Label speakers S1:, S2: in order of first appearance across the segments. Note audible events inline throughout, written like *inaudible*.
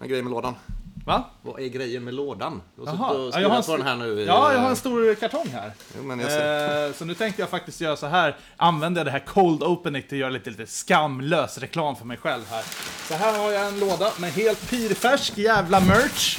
S1: är grejen med lådan?
S2: Va?
S1: Vad är grejen med lådan? Du har
S2: Jaha.
S1: suttit och
S2: Ja, jag har en
S1: skrivit på den här nu i...
S2: Ja, jag har en stor kartong här.
S1: Jo, men jag ser.
S2: Eh, så nu tänkte jag faktiskt göra så här. Använda det här cold opening till att göra lite, lite skamlös reklam för mig själv här. Så här har jag en låda med helt pirfärsk jävla merch.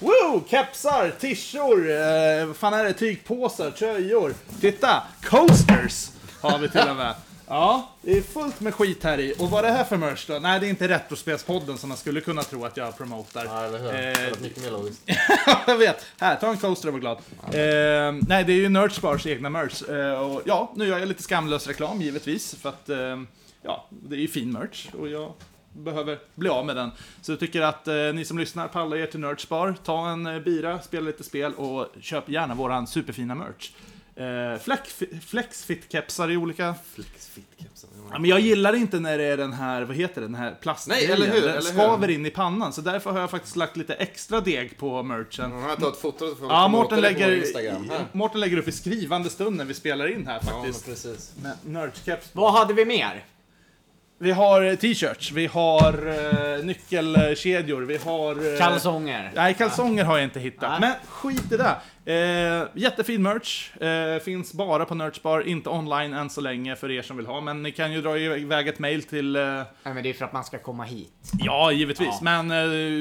S2: Woo! Woo! Kepsar, tishor, eh, vad fan är det? Tygpåsar, tröjor. Titta! Coasters har vi till
S1: *laughs*
S2: och med. Ja, det är fullt med skit här i. Och vad är det här för merch då? Nej, det är inte Retrospelspodden som man skulle kunna tro att jag promotar.
S1: Ja, eller hur?
S2: Eh,
S1: Det låter mycket mer *laughs* logiskt.
S2: *laughs* jag vet. Här, ta en coaster och var glad. Ehm, nej, det är ju Nerdspars egna merch. Eh, och ja, nu gör jag lite skamlös reklam givetvis. För att, ehm, ja, det är ju fin merch. Och jag behöver bli av med den. Så jag tycker att eh, ni som lyssnar, palla er till Nerdspar. Ta en eh, bira, spela lite spel och köp gärna våran superfina merch. Eh, flex- Flexfit-kepsar i olika...
S1: Flexfit-kepsen.
S2: Ja, men jag gillar inte när det är den här, vad heter det, den här plastgrejen.
S1: Nej, eller hur,
S2: Den
S1: eller hur?
S2: skaver in i pannan. Så därför har jag faktiskt lagt lite extra deg på merchen.
S1: Nu har jag tagit foto så får vi
S2: Ja,
S1: komma åt
S2: Mårten
S1: det på
S2: lägger,
S1: Instagram. Här.
S2: Mårten lägger upp i skrivande stund när vi spelar in här
S1: Ja, men
S2: faktiskt.
S1: precis.
S2: Med nerdcaps.
S3: Vad hade vi mer?
S2: Vi har eh, t-shirts, vi har eh, nyckelkedjor, vi har... eh,
S3: Kalsonger.
S2: Nej, kalsonger har jag inte hittat.
S3: Nej.
S2: Men skit i det. Eh, jättefin merch. Eh, finns bara på Nerdspar, inte online än så länge för er som vill ha. Men ni kan ju dra iväg ett mail till... Eh,
S3: Nej, men det är för att man ska komma hit.
S2: Ja, givetvis.
S3: Ja.
S2: Men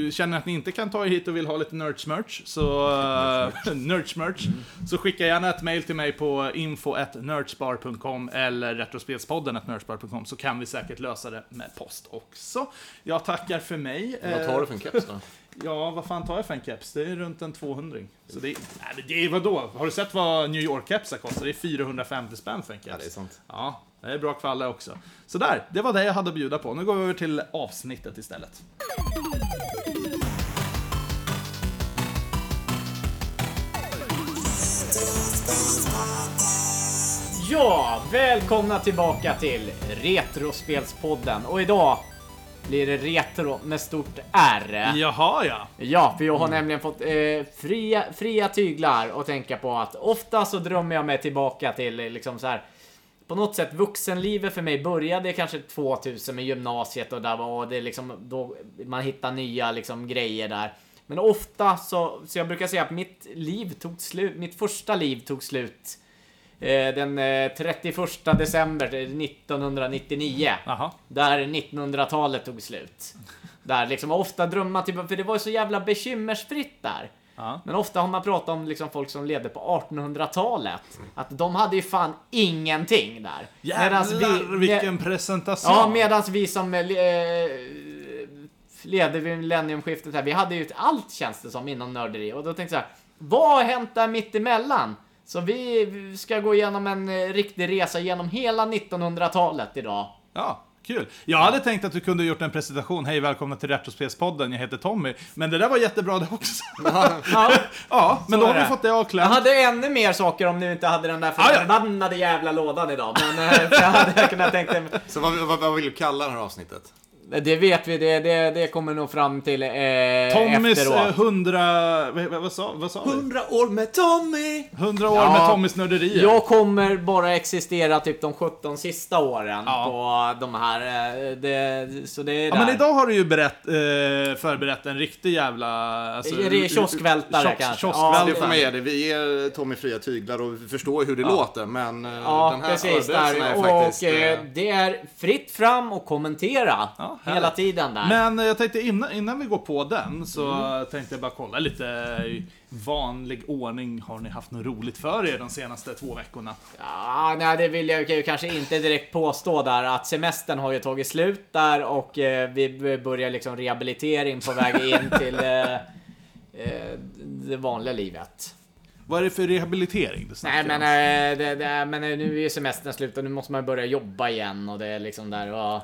S2: eh, känner att ni inte kan ta er hit och vill ha lite nerdsmerch, så, eh, *laughs* nerdsmerch,
S1: Mm.
S2: så skicka gärna ett mail till mig på info.nerdspar.com eller retrospelspodden.nerdspar.com så kan vi säkert lösa det med post också. Jag tackar för mig. Eh,
S1: Vad tar du för en keps då?
S2: Ja, vad fan tar jag för en keps? Det är runt en 200 Så det är, nej, men det är vadå? Har du sett vad New York-kepsar kostar? Det är 450 spänn för en
S1: *laughs*
S2: keps.
S1: Ja, det är sant.
S2: Ja, det är bra kvalle också. Sådär, det var det jag hade att bjuda på. Nu går vi över till avsnittet istället.
S3: Ja, välkomna tillbaka till Retrospelspodden. Och idag blir det retro med stort R.
S2: Jaha ja.
S3: Ja, för jag har nämligen fått eh, fria, fria tyglar och tänka på att ofta så drömmer jag mig tillbaka till eh, liksom så här. På något sätt vuxenlivet för mig började kanske 2000 med gymnasiet och där var det liksom då man hittar nya liksom grejer där. Men ofta så, så jag brukar säga att mitt liv tog slut, mitt första liv tog slut eh, den eh, 31 december eh, 1999.
S2: Jaha.
S3: Där 1900-talet tog slut. Där liksom ofta drömmar typ, för det var ju så jävla bekymmersfritt där.
S2: Ja.
S3: Men ofta har man pratat om liksom folk som levde på 1800-talet. Att de hade ju fan ingenting där. Medans
S2: Jävlar
S3: me-
S2: vilken presentation.
S3: Ja, medans vi som eh, levde vid millenniumskiftet här, vi hade ju ett allt känns det som inom nörderi. Och då tänkte jag så här, vad har hänt där mittemellan? Så vi ska gå igenom en eh, riktig resa genom hela 1900-talet idag.
S2: Ja, kul. Jag hade tänkt att du kunde gjort en presentation. Hej, välkomna till Retrospelspodden. Jag heter Tommy. Men det där var jättebra det också.
S3: Ja.
S2: *laughs* ja, men
S3: Så
S2: då
S3: är
S2: har vi
S3: det.
S2: fått det
S3: Jag
S2: avklämt.
S3: hade ännu mer saker om nu inte hade den där
S2: Ah, ja.
S3: förbannade jävla lådan idag. Men eh, *laughs* för jag hade kunnat tänka mig.
S1: Så vad, vad, vad vill du kalla det här avsnittet?
S3: Det vet vi, det, det, det kommer nog fram till eh,
S2: Tommys eh,
S3: efteråt.
S2: 100... Vad, vad, vad, sa, vad sa vi?
S1: 100 år med Tommy!
S2: 100 år
S3: Ja.
S2: med Tommys nörderier.
S3: Jag kommer bara existera typ de 17 sista åren
S2: Ja.
S3: på de här. eh, Det, så det är
S2: Ja,
S3: där.
S2: men idag har du ju berett, eh, förberett en riktig jävla... Alltså,
S3: Det är kioskvältare kanske. Ja,
S1: Det
S2: Kioskvältare.
S1: får man ge dig. Vi ger Tommy fria tyglar och vi förstår hur det låter. Men eh,
S3: Ja,
S1: den här
S3: precis.
S1: förberedelsen
S3: Där.
S1: är
S3: Och
S1: faktiskt...
S3: eh,
S1: eh,
S3: det är fritt fram och kommentera
S2: Ja,
S3: hela
S2: härligt.
S3: tiden där. Mm.
S2: Men eh, jag tänkte innan, innan vi går på den så tänkte jag bara kolla lite i vanlig ordning. Har ni haft något roligt för er de senaste två veckorna?
S3: Ja, nej, det vill jag ju kanske inte direkt påstå där att semestern har ju tagit slut där och eh, vi b- börjar liksom rehabilitering på väg in till eh, eh, det vanliga livet.
S2: Vad är det för rehabilitering du snackar
S3: Nej men,
S2: om?
S3: eh, det, det, men eh, nu är ju semestern slut och nu måste man börja jobba igen och det är liksom där och,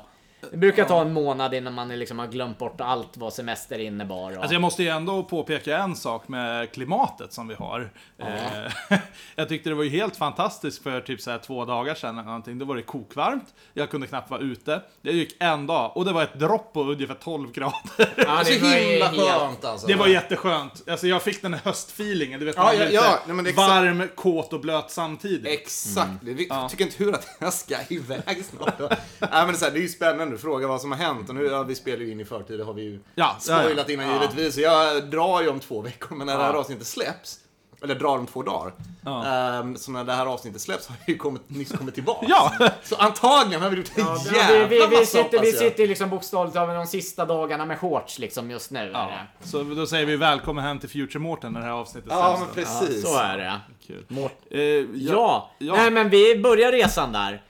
S3: Det brukar ta en månad innan man liksom har glömt bort allt vad semester innebar. Och,
S2: Alltså jag måste ju ändå påpeka en sak med klimatet som vi har. Eh, *laughs* jag tyckte det var ju helt fantastiskt för typ så här två dagar sedan eller någonting. Då var det kokvarmt, jag kunde knappt vara ute. Det gick en dag och det var ett dropp på ungefär 12 grader.
S3: ja,
S1: Det är så
S3: var ju
S1: alltså, himla
S3: helt-
S1: skönt alltså.
S2: Det var jätteskönt. Alltså jag fick den här höstfeelingen, du vet
S1: Ja,
S2: man
S1: ja,
S2: blir lite
S1: ja. Nej, men det är exakt-
S2: varm, kåt och blöt samtidigt. Mm.
S1: *laughs* Exakt. Det är viktigt. Jag tycker inte tur att jag ska iväg snart. Nej, men det är, så här, det är ju spännande. du frågar vad som har hänt. Och nu, ja, vi spelar ju in i förtid, det har vi ju
S2: Ja, ja, ja.
S1: spoilat innan givetvis. Så jag drar ju om två veckor, men när det här avsnittet släpps, eller drar om två dagar. ehm, så när det här avsnittet släpps har jag ju kommit, nyss kommit tillbaka.
S2: Ja.
S1: Så antagligen har vi gjort en
S3: Ja, vi,
S1: jävla
S3: vi, vi,
S1: massa
S3: sitter, vi
S1: hoppas jag.
S3: sitter liksom bokstavligt talat de sista dagarna med shorts liksom just nu. är
S2: Ja.
S3: det.
S2: Så då säger vi välkommen hem till Future Mårten när det här avsnittet
S1: Ja,
S2: sänds
S1: men
S2: då.
S1: precis.
S3: Så är det.
S2: Kul.
S3: Mårt-
S2: Eh, jag-
S3: Ja.
S2: ja.
S3: nej men vi börjar resan där.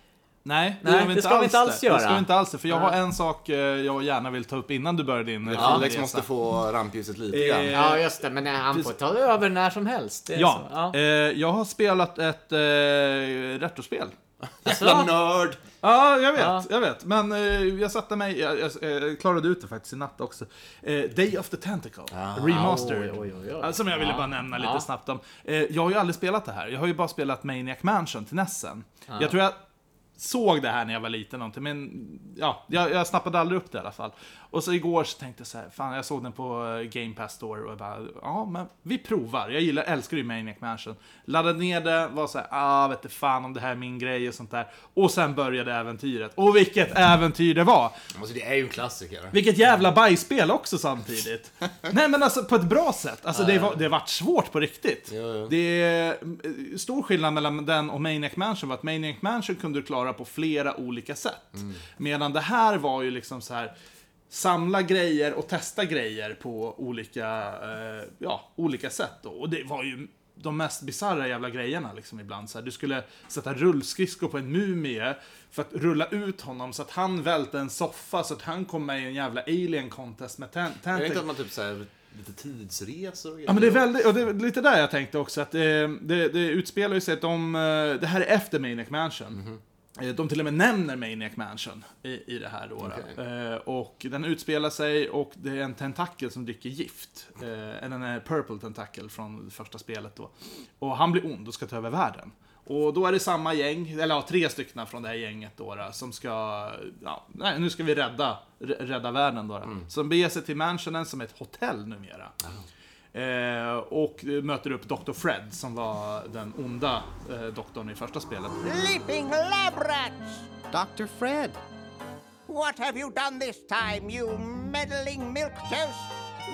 S2: Nej,
S3: Nej,
S2: gör
S3: det ska vi inte alls
S2: det.
S3: göra.
S2: Det ska vi inte alls det, för jag har en sak eh, jag gärna vill ta upp innan du börjar din eh,
S1: Ja, Alex
S2: filmresa.
S1: måste få rampljuset lite
S2: Eh,
S1: grann.
S3: Ja just det, men han får ta över när som helst. Det är
S2: Ja,
S3: så. ja.
S2: Eh, jag har spelat ett eh, retrospel. alltså-
S1: Jävla nörd!
S2: Ja, jag vet,
S3: Ja.
S2: jag vet. Men eh, jag satte mig, jag, jag eh, klarade ut det faktiskt i natt också. Eh, Day of the Tentacle,
S3: Ah,
S2: remastered.
S3: Oj, oj, oj, oj.
S2: Ja, Som jag ville
S3: Ja.
S2: bara nämna lite
S3: Ja.
S2: snabbt om. Eh, jag har ju aldrig spelat det här, jag har ju bara spelat Maniac Mansion till Nessen. Jag tror jag såg det här när jag var liten, någonting, men ja, jag, jag snappade aldrig upp det i alla fall. Och så igår så tänkte jag så här, fan jag såg den på eh, Game Pass Store och jag bara, ja men vi provar. Jag gillar, älskar ju Maniac Mansion. Laddade ner det, var så här, ah vet du fan om det här är min grej och sånt där. Och sen började äventyret. Och vilket äventyr det var!
S1: Alltså, det är ju en klassiker.
S2: Vilket jävla bajsspel också samtidigt. Nej men alltså på ett bra sätt. Alltså det, var, det vart svårt på riktigt.
S1: Ja, ja.
S2: Det är eh, stor skillnad mellan den och Maniac Mansion var att Maniac Mansion kunde du klara på flera olika sätt. Medan det här var ju liksom så här samla grejer och testa grejer på olika, eh, ja, olika sätt. Då. Och det var ju de mest bisarra jävla grejerna liksom ibland. Så här, du skulle sätta rullskridskor på en mumie för att rulla ut honom så att han välte en soffa så att han kom med i en jävla alien contest med ten-
S1: Är det
S2: Tentacle.
S1: inte att man typ såhär, lite tidsresor och
S2: Ja, men det är väldigt, och det är lite där jag tänkte också att eh, det, det utspelar ju sig att de, eh, det här är efter Maniac Mansion. Eh, De till och med nämner Maniac Mansion i, i det här då. då. Eh, och den utspelar sig och det är en tentakel som dricker gift. Eh, en eh, purple tentakel från första spelet då. Och han blir ond och ska ta över världen. Och då är det samma gäng, eller ja, tre stycken från det här gänget då, då som ska, ja, nej, nu ska vi rädda, rädda världen då. då. Som beger sig till mansionen som är ett hotell numera. Eh, och eh, möter upp Dr. Fred som var den onda eh, doktorn i första spelet.
S4: Leaping lab rats!
S5: Dr. Fred.
S4: What have you done this time, you meddling milk toast?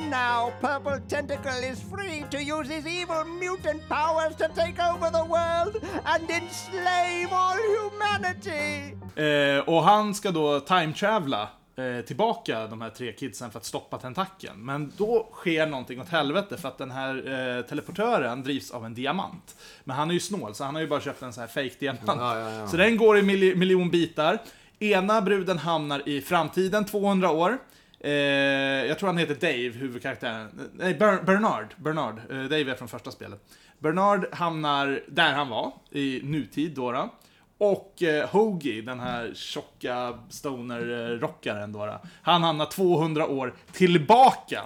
S4: Now Purple Tentacle is free to use his evil mutant powers to take over the world and enslave all humanity!
S2: Eh, och han ska då time-travla eh, tillbaka de här tre kidsen för att stoppa tentakeln. Men då sker någonting åt helvete för att den här eh, teleportören drivs av en diamant. Men han är ju snål så han har ju bara köpt en sån här fake diamant
S1: Ja, ja, ja.
S2: Så den går i mil- miljon bitar. Ena bruden hamnar i framtiden, 200 år. Eh, jag tror han heter Dave, huvudkaraktären. Nej, Ber- Bernard. Bernard. Eh, Dave är från första spelet. Bernard hamnar där han var, i nutid då. då. Och eh, Hoagie, den här tjocka stoner-rockaren då, då. Han hamnar 200 år tillbaka.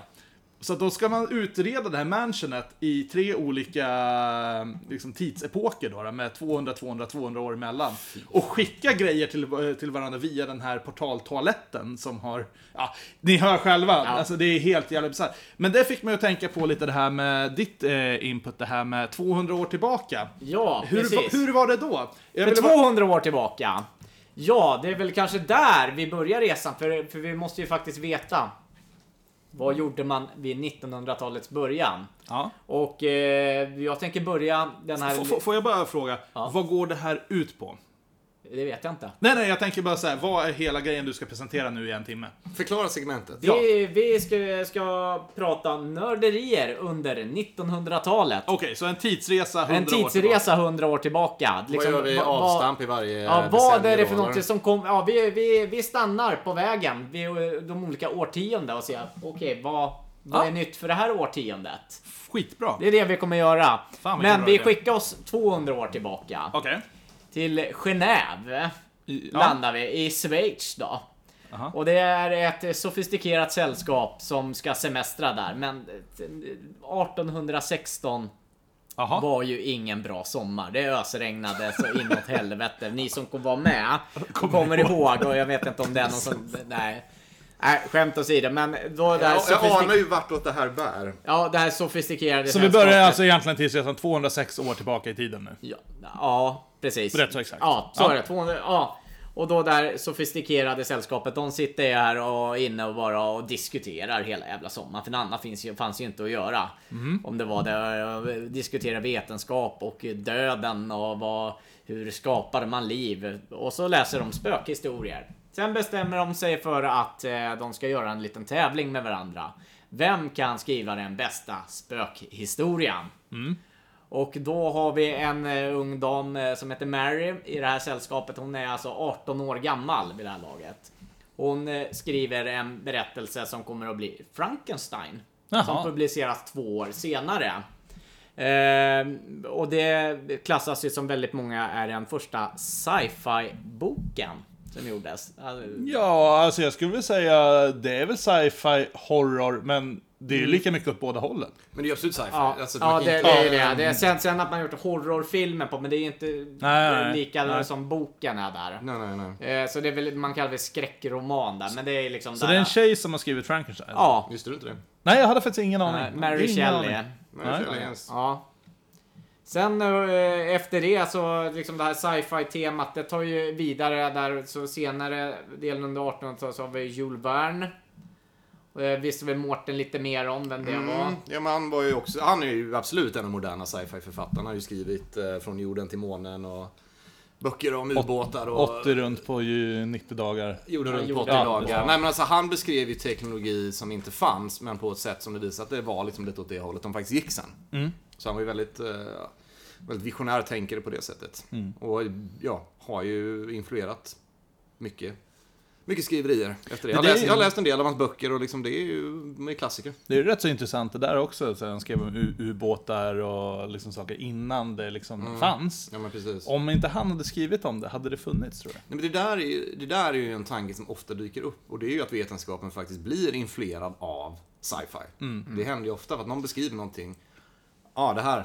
S2: Så att då ska man utreda det här mansionet i tre olika liksom, tidsepoker då, då, med 200, 200, 200 år emellan. Och skicka grejer till, till varandra via den här portaltoaletten som har... Ja, ni hör själva, alltså det är helt jävla bisarrt. Men det fick mig att tänka på lite det här med ditt eh, input, det här med 200 år tillbaka.
S3: Ja,
S2: hur,
S3: precis.
S2: hur var det då? Jag
S3: För
S2: ville bara-
S3: 200 år tillbaka. Ja, det är väl kanske där vi börjar resan, för, för vi måste ju faktiskt veta. Vad gjorde man vid 1900-talets början?
S2: Ja.
S3: Och eh, jag tänker börja den här...
S2: F- f- Får jag bara fråga,
S3: Ja.
S2: vad går det här ut på?
S3: Det vet jag inte.
S2: Nej, nej, jag tänker bara så här, vad är hela grejen du ska presentera nu i en timme?
S1: Förklara segmentet.
S2: Ja.
S3: Vi, vi ska, ska prata nörderier under 1900-talet.
S2: Okej, så en tidsresa 100
S3: En
S2: år tillbaka.
S3: tidsresa 100 år tillbaka.
S1: Vad gör vi
S3: liksom, va- va-
S1: avstamp i varje
S2: eh,
S3: Ja, vad är det
S1: decennium
S3: för
S1: då, eller?
S3: något som kom? Ja, vi, vi, vi stannar på vägen vid eh, de olika årtiondena och ser okej, vad, vad
S2: Ja.
S3: är nytt för det här årtiondet?
S2: Skitbra.
S3: Det är det vi kommer göra.
S2: Fan, vilken
S3: Men
S2: bra
S3: vi
S2: idé.
S3: skickar oss 200 år tillbaka.
S2: Okej.
S3: Till Genève
S2: I- ja.
S3: landar vi, i Schweiz då.
S2: Aha.
S3: Och det är ett eh, sofistikerat sällskap som ska semestra där, men eh, 1816
S2: Jaha.
S3: var ju ingen bra sommar. Det ösregnade så inåt helvete. Ni som kom var med kommer, ihåg och jag vet inte om det är någon som... Nej. Nej, skämt åsido, men då det här,
S1: Ja, jag anar
S3: sofistik-
S1: ju vartåt det här bär.
S3: ja, det här sofistikerade
S2: Så vi
S3: sällskapet-
S2: börjar alltså egentligen tidsresan 206 år tillbaka i tiden nu.
S3: Ja, ja precis.
S2: Rätt så exakt.
S3: Ja, så
S2: Ja.
S3: är det. 200, ja. Och då där sofistikerade sällskapet, de sitter ju här och inne och bara och diskuterar hela jävla sommaren. För något annat finns ju, fanns ju inte att göra.
S2: Mhm.
S3: Om det var det, eh, diskutera vetenskap och döden och vad, hur skapar man liv? Och så läser de spökhistorier. Sen bestämmer de sig för att eh, de ska göra en liten tävling med varandra. Vem kan skriva den bästa spökhistorien? Och då har vi en eh, ung dam eh, som heter Mary i det här sällskapet. Hon är alltså 18 år gammal vid det här laget. Hon eh, skriver en berättelse som kommer att bli Frankenstein.
S2: Jaha.
S3: Som publiceras två år senare. Eh, och det klassas ju som väldigt många är den första sci-fi boken som gjordes. Alltså,
S2: Ja, alltså jag skulle vilja säga det är väl sci-fi horror, men det är ju lika mycket åt båda hållen.
S1: Men det är ju absolut sci-fi.
S3: Ja,
S1: Alltså, man
S3: ja
S1: kan
S3: det,
S1: inte-
S3: det är ju det. det är sen, sen att man gjort horrorfilmer på, men det är ju inte
S2: nej, nej.
S3: lika
S2: Nej.
S3: som boken är där.
S1: Nej, nej, nej.
S3: Eh, Så det är väl, man kallar det skräckroman där, men det är liksom
S2: Så
S3: där.
S2: det är en tjej som har skrivit Frankenstein?
S3: Ja.
S1: Visste du inte det?
S2: Nej, jag hade faktiskt ingen
S3: eh,
S2: aning.
S3: Mary
S2: ingen
S3: Shelley.
S2: aning.
S1: Nej,
S2: Nej.
S1: det är ens-
S3: Ja. Sen eh, efter det så, liksom det här sci-fi temat, det tar ju vidare där, så senare delen under 1800-talet så har vi Jules Verne. Eh, Visste väl Mårten lite mer om vem det var.
S1: Mm. Ja, men han var ju också, han är ju absolut en av de moderna sci-fi författarna. Han har ju skrivit eh, Från jorden till månen och böcker om ubåtar och
S2: 80 runt på ju 90 dagar.
S1: jorden
S3: Ja,
S1: runt på
S3: jorden.
S1: 80
S3: Ja,
S1: dagar.
S3: ja.
S1: Nej, men alltså, han beskrev ju teknologi som inte fanns, men på ett sätt som det visar att det var liksom lite åt det hållet de faktiskt gick sen. Så han var ju väldigt, eh, väldigt visionär tänkare på det sättet. Och ja, har ju influerat mycket. Mycket skriverier efter det. Jag har
S2: det är
S1: läst,
S2: ju-
S1: jag har läst en del av hans böcker och liksom det är ju de är klassiker.
S2: Det är ju rätt så intressant det där också. Så han skrev om u- ubåtar och liksom saker innan det liksom
S3: Mm.
S2: fanns.
S1: Ja, men precis.
S2: Om inte han hade skrivit om det, hade det funnits tror jag.
S1: Nej, men det, där är ju, det där är ju en tanke som ofta dyker upp och det är ju att vetenskapen faktiskt blir influerad av sci-fi.
S2: Mm,
S1: Det händer ju ofta att någon beskriver någonting. Ja, det här,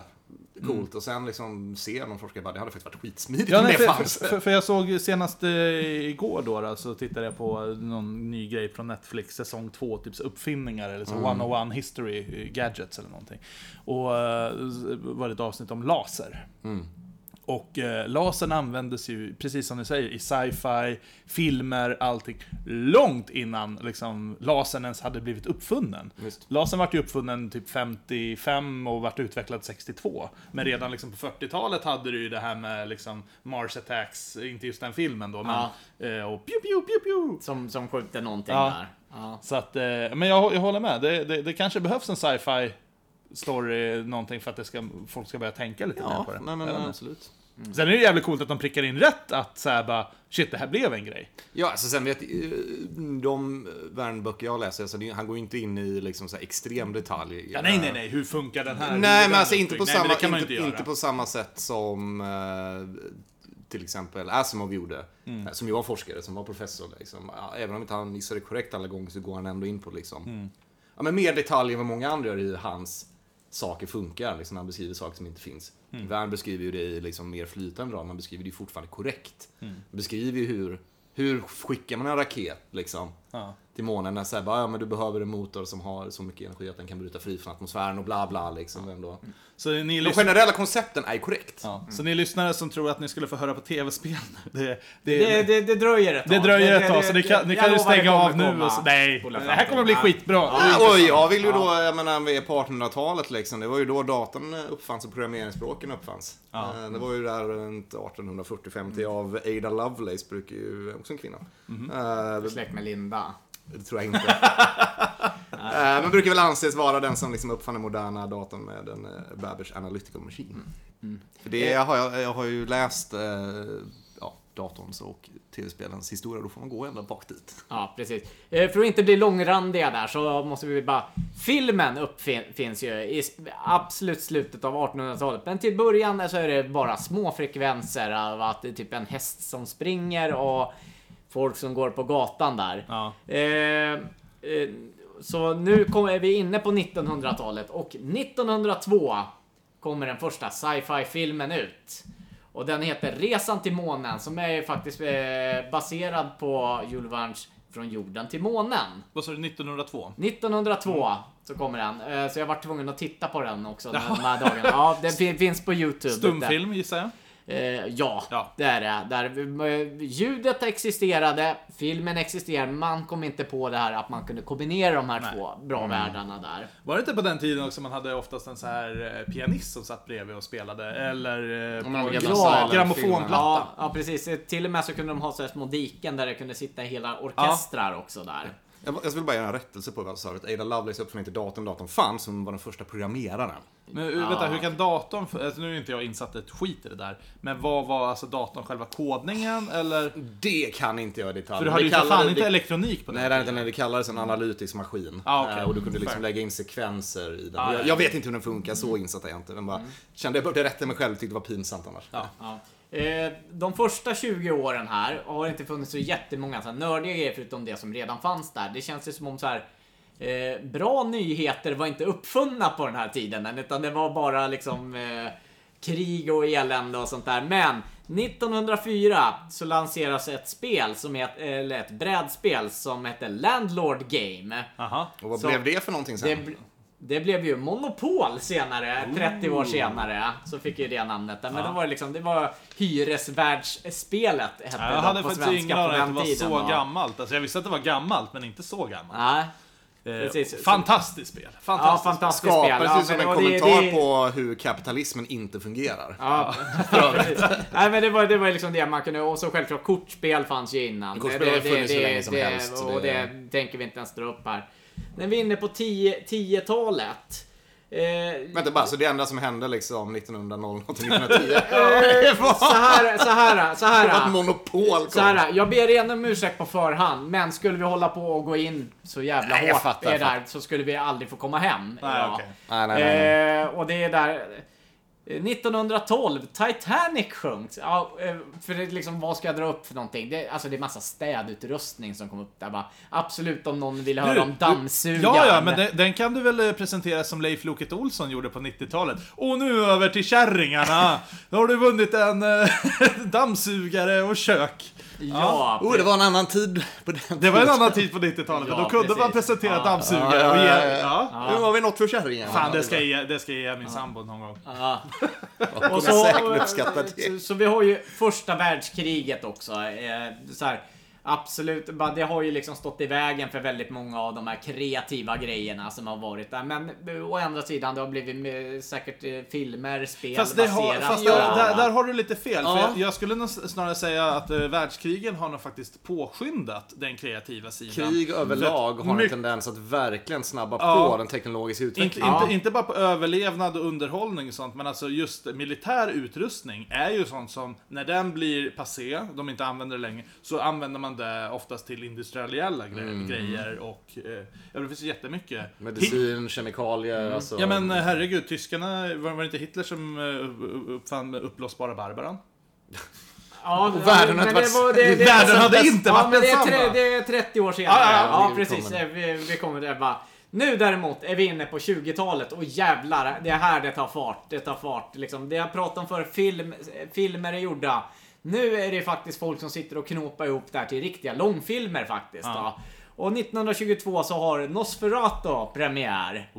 S1: coolt. Och sen liksom ser någon forskare bara, det hade faktiskt varit skitsmidigt
S2: Mm. Ja,
S1: om
S2: nej,
S1: det
S2: för,
S1: fanns.
S2: för, för jag såg ju senast eh, igår då, då, så tittade jag på någon ny grej från Netflix, säsong 2, typ så uppfinningar eller så,
S1: Mm.
S2: 101 history eh, gadgets eller någonting. Och eh, var det ett avsnitt om laser. Och eh, lasern användes ju, precis som du säger, i sci-fi, filmer, allting. Långt innan liksom, lasern ens hade blivit uppfunnen.
S1: Visst.
S2: Lasern vart ju uppfunnen typ 55 och vart utvecklad 62. Men redan liksom på 40-talet hade du ju det här med liksom Mars Attacks, inte just den filmen då, men... Eh, och pew, pew, pew, pew.
S3: Som, som skjuter någonting
S2: Ja.
S3: där. Ja.
S2: Så att, eh, men jag, jag håller med. Det, det, det kanske behövs en sci-fi story, någonting för att det ska, folk ska börja tänka lite mer
S1: Ja,
S2: på det.
S1: nej, men, eh,
S2: Jag vet inte.
S1: absolut.
S2: Sen är det jävligt coolt att de prickar in rätt att såhär bara Shit, det här blev en grej.
S1: Ja, alltså sen vet eh, de Värnböcker jag läser, alltså, det- han går ju inte in i liksom så här extrem detalj.
S2: Ja, nej, nej, nej, hur funkar den här? Hur är
S1: Nej, men
S2: den
S1: alltså inte
S2: uppbyggd?
S1: på,
S2: Nej, men
S1: samma,
S2: det kan man
S1: inte,
S2: ju
S1: inte på samma sätt som eh, till exempel Asimov gjorde.
S2: Mm.
S1: eh, Som ju var forskare, som var professor. Liksom. Ja, Även om inte han gissade korrekt alla gånger så går han ändå in på liksom.
S2: Mm.
S1: Ja, men mer detalj än vad många andra gör i hur hans saker funkar. Liksom, han beskriver saker som inte finns.
S2: Mm.
S1: Värn beskriver ju det i liksom mer flytande ram, han beskriver det ju fortfarande korrekt.
S2: Mm.
S1: Han beskriver ju hur, hur skickar man en raket liksom
S2: Ja.
S1: till månen när säger bara, ja men du behöver en motor som har så mycket energi att den kan bryta fri från atmosfären och bla bla liksom. Vem då?
S2: Så ni,
S1: De
S2: lys-
S1: generella koncepten är korrekt.
S2: ja. så ni lyssnare som tror att ni skulle få höra på tv-spel nu, det, det,
S3: Det,
S2: det,
S3: det, det dröjer ett tag.
S2: dröjer ett tag, så ni kan, ni
S3: jag
S2: kan ju
S3: lovar, det
S2: stänga
S3: kommer
S2: av nu
S3: komma.
S2: och så, Nej,
S3: Spola
S2: det
S3: fram
S2: här kommer bli
S3: till-
S2: skitbra.
S1: Ja, och jag vill ju då, jag menar vi är på 1800-talet liksom. Det var ju då datorn uppfanns och programmeringsspråken uppfanns. Eh, Det var ju där runt 1840-50 av Ada Lovelace, brukar ju, också en kvinna. Eh,
S3: Ja. Släkt med Linda.
S1: Det tror jag inte. *laughs* Eh, Men brukar väl anses vara den som liksom uppfann den moderna datorn med den eh, Babbage Analytical Machine. För det har jag, jag har ju läst eh, ja, datorns och tv-spelens historia, då får man gå ända bak dit.
S3: Ja, precis. Eh, För att inte bli långrandiga där så måste vi bara... Filmen uppfinns ju i s- absolut slutet av 1800-talet. Men till början så är det bara små frekvenser av att det är typ en häst som springer och folk som går på gatan där.
S2: Ja.
S3: Eh, eh, så nu kom, är vi inne på 1900-talet och 1902 kommer den första sci-fi filmen ut. Och den heter Resan till månen som är ju faktiskt eh, baserad på Jules Verne's Från jorden till månen.
S2: Vad sa du, 1902?
S3: 1902
S2: Mm.
S3: så kommer den.
S2: *laughs*
S3: Eh, Så jag var tvungen att titta på den också de här dagarna. Ja, den fin- finns på Youtube.
S2: Stumfilm gissar jag?
S3: Eh, Eh, ja,
S2: Ja.
S3: det är det. Där, eh, ljudet existerade, filmen existerade, man kom inte på det här att man kunde kombinera de här
S2: Nej. Mm.
S3: två bra världarna där.
S2: Var det inte på den tiden också man hade oftast en så här eh, pianist som satt bredvid och spelade? Eller eh,
S1: Om man
S2: på
S1: hade
S2: gra-
S1: silent
S2: grammofonplatta?
S1: filmer.
S3: Ja, ja, precis. Eh, Till och med så kunde de ha så här små diken där det kunde sitta hela orkestrar också där.
S1: Jag, jag vill bara göra en rättelse på vad jag sa. förut. Ada Lovelace uppfann inte datorn, datorn fanns. Hon var den första programmeraren.
S2: Men uh, vänta, hur kan datorn... f- Alltså, nu är inte jag insatt ett skit i det där. Men vad var alltså datorn själva kodningen eller?
S1: Det kan inte jag i detalj.
S2: För du hade ju för
S1: kallade-
S2: fan
S1: vi-
S2: inte elektronik på den
S1: Nej, det, är inte, nej, det kallades en analytisk maskin.
S2: Ah, okej.
S1: Eh, Och du kunde liksom
S2: Fair.
S1: lägga in sekvenser i den.
S2: Ah,
S1: jag,
S2: ja.
S1: jag vet inte hur den funkar, så insatt är jag inte. Men bara, kände jag började rätta mig själv, tyckte det var pinsamt annars.
S3: Ja. Eh, De första 20 åren här har det inte funnits så jättemånga så här nördiga grejer förutom det som redan fanns där. Det känns ju som om så här eh, bra nyheter var inte uppfunna på den här tiden än, utan det var bara liksom eh, krig och elände och sånt där. Men 1904 så lanseras ett spel som heter, eller ett brädspel som heter Landlord Game.
S2: Aha.
S1: Och vad
S3: Så-
S1: blev det för någonting sen?
S3: Det, bl- det blev ju Monopol senare, 30 år senare, så fick ju det namnet. där. Men då var det liksom, det var hyresvärldsspelet hette
S2: Ja, Jag
S3: det
S2: hade
S3: på
S2: faktiskt ingen
S3: svenska på
S2: aning
S3: den
S2: om att det var
S3: tiden.
S2: så
S3: och-
S2: gammalt. Alltså jag visste att det var gammalt, men inte så gammalt.
S3: Nej.
S2: Eh,
S3: precis.
S2: Fantastiskt spel!
S3: Ja,
S2: Fantastiskt
S3: fantastiskt spel.
S1: Skapades
S3: Ja,
S1: ju som
S3: men-
S1: en
S3: och det- det-
S1: kommentar på hur kapitalismen inte fungerar.
S3: Ja, *laughs* precis. Nej men det var, det var liksom det man kunde, och så självklart kortspel fanns ju innan.
S1: Kortspel har ju funnits hur länge som
S3: det,
S1: helst,
S3: Och det,
S1: det-
S3: tänker vi inte ens dra upp här. När vi är inne på 10 10-talet. eh,
S1: Vänta bara, så det enda som hände liksom 1900 till 1910
S2: *laughs*
S3: så här, så här,
S1: *laughs*
S3: så här.
S1: var att monopol kom.
S3: Så här, jag ber igen om ursäkt på förhand, men skulle vi hålla på och gå in så jävla
S1: Nej, jag
S3: hårt
S1: fattar,
S3: i det
S1: jag
S3: där så skulle vi aldrig få komma hem.
S2: Nej,
S3: idag.
S2: okej.
S1: Nej, nej, nej, nej.
S3: Eh, och det är där... eh, 1912, Titanic sjönk. Ja, eh, för det är liksom, vad ska jag dra upp för någonting? Det, alltså det är massa städutrustning som kom upp där bara. Absolut om någon vill höra
S2: Du,
S3: om
S2: du-
S3: dammsugaren.
S2: Ja, ja, men den, den kan du väl eh, presentera som Leif Loket Olsson gjorde på 90-talet. Och nu över till kärringarna! Då har du vunnit en eh, *laughs* dammsugare och kök.
S3: Ja,
S1: Oh, det var en annan tid på den
S2: Det var en annan tid på 90-talet, men
S3: Ja,
S2: då kunde man
S3: precis.
S2: presentera
S3: Ja.
S1: Ja,
S2: dammsugare
S1: ja,
S2: och ge...
S1: ja,
S2: Ja,
S1: ja. Nu har vi något för kärringarna.
S2: Fan, det ska, jag, ge- det ska jag ge min sambo någon gång.
S3: ja.
S1: Och så... säkert uppskatta det.
S3: Så, så vi har ju första världskriget också. Eh, så här, absolut, bara det har ju liksom stått i vägen för väldigt många av de här kreativa grejerna som har varit där. Men eh, å andra sidan, det har blivit eh, säkert eh, filmer, spel
S2: Fast, det har,
S3: baserat
S2: fast
S3: på
S2: där,
S3: det här.
S2: där, där har du lite fel.
S3: Ja.
S2: För jag, jag skulle nog snarare säga att eh, världskrigen har nog faktiskt påskyndat den kreativa sidan.
S1: Krig överlag har en
S2: mycket-
S1: tendens att verkligen snabba på
S2: Ja.
S1: den teknologiska
S2: Inte,
S1: utvecklingen.
S2: inte, inte bara på överlevnad och underhållning och sånt, men alltså just militär utrustning är ju sånt som, när den blir passé, de inte använder det längre, så använder man det oftast till industriella gre- grejer och... Eh, ja, det finns ju jättemycket.
S1: Medicin, kemikalier, alltså...
S2: Ja men eh, herregud, tyskarna, var var det inte Hitler som eh, uppfann uppblåsbara Barbaran?
S3: Ja,
S1: världen
S3: men
S1: hade
S3: det
S1: varit-
S2: *laughs*
S3: var- det- det-
S2: världen
S3: det-
S2: hade
S3: det-
S2: inte
S3: ja,
S2: varit
S3: men det är,
S2: densamma.
S3: tre, det är 30 år senare.
S2: Ja,
S3: Ja,
S2: ja, ja.
S1: Vi
S3: precis.
S1: kommer.
S3: Eh, Vi, vi kommer där bara. Nu däremot är vi inne på 20-talet och jävlar, det är här det tar fart. Det tar fart liksom. Det jag pratade om för film, eh, filmer är gjorda. Nu är det faktiskt folk som sitter och knåpar ihop det här till riktiga långfilmer faktiskt.
S2: Ja.
S3: Ja. Och 1922 så har Nosferatu premiär.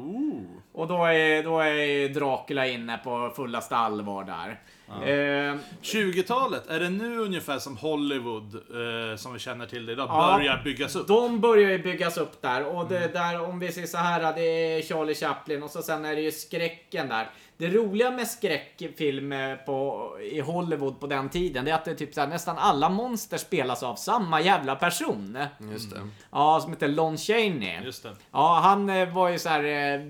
S3: Och då är, då är Dracula inne på fullaste allvar där. Eh,
S2: 20-talet, är det nu ungefär som Hollywood, eh, som vi känner till det idag,
S3: Ja.
S2: börjar byggas upp?
S3: De börjar ju byggas upp där och det där om vi ser så här det är Charlie Chaplin och så sen är det ju skräcken där. Det roliga med skräckfilm eh, på, i Hollywood på den tiden det är att det är typ så här, nästan alla monster spelas av samma jävla person.
S1: Just det.
S3: Ja, som heter Lon Chaney.
S2: Just det.
S3: Ja, han eh, var ju så här. eh,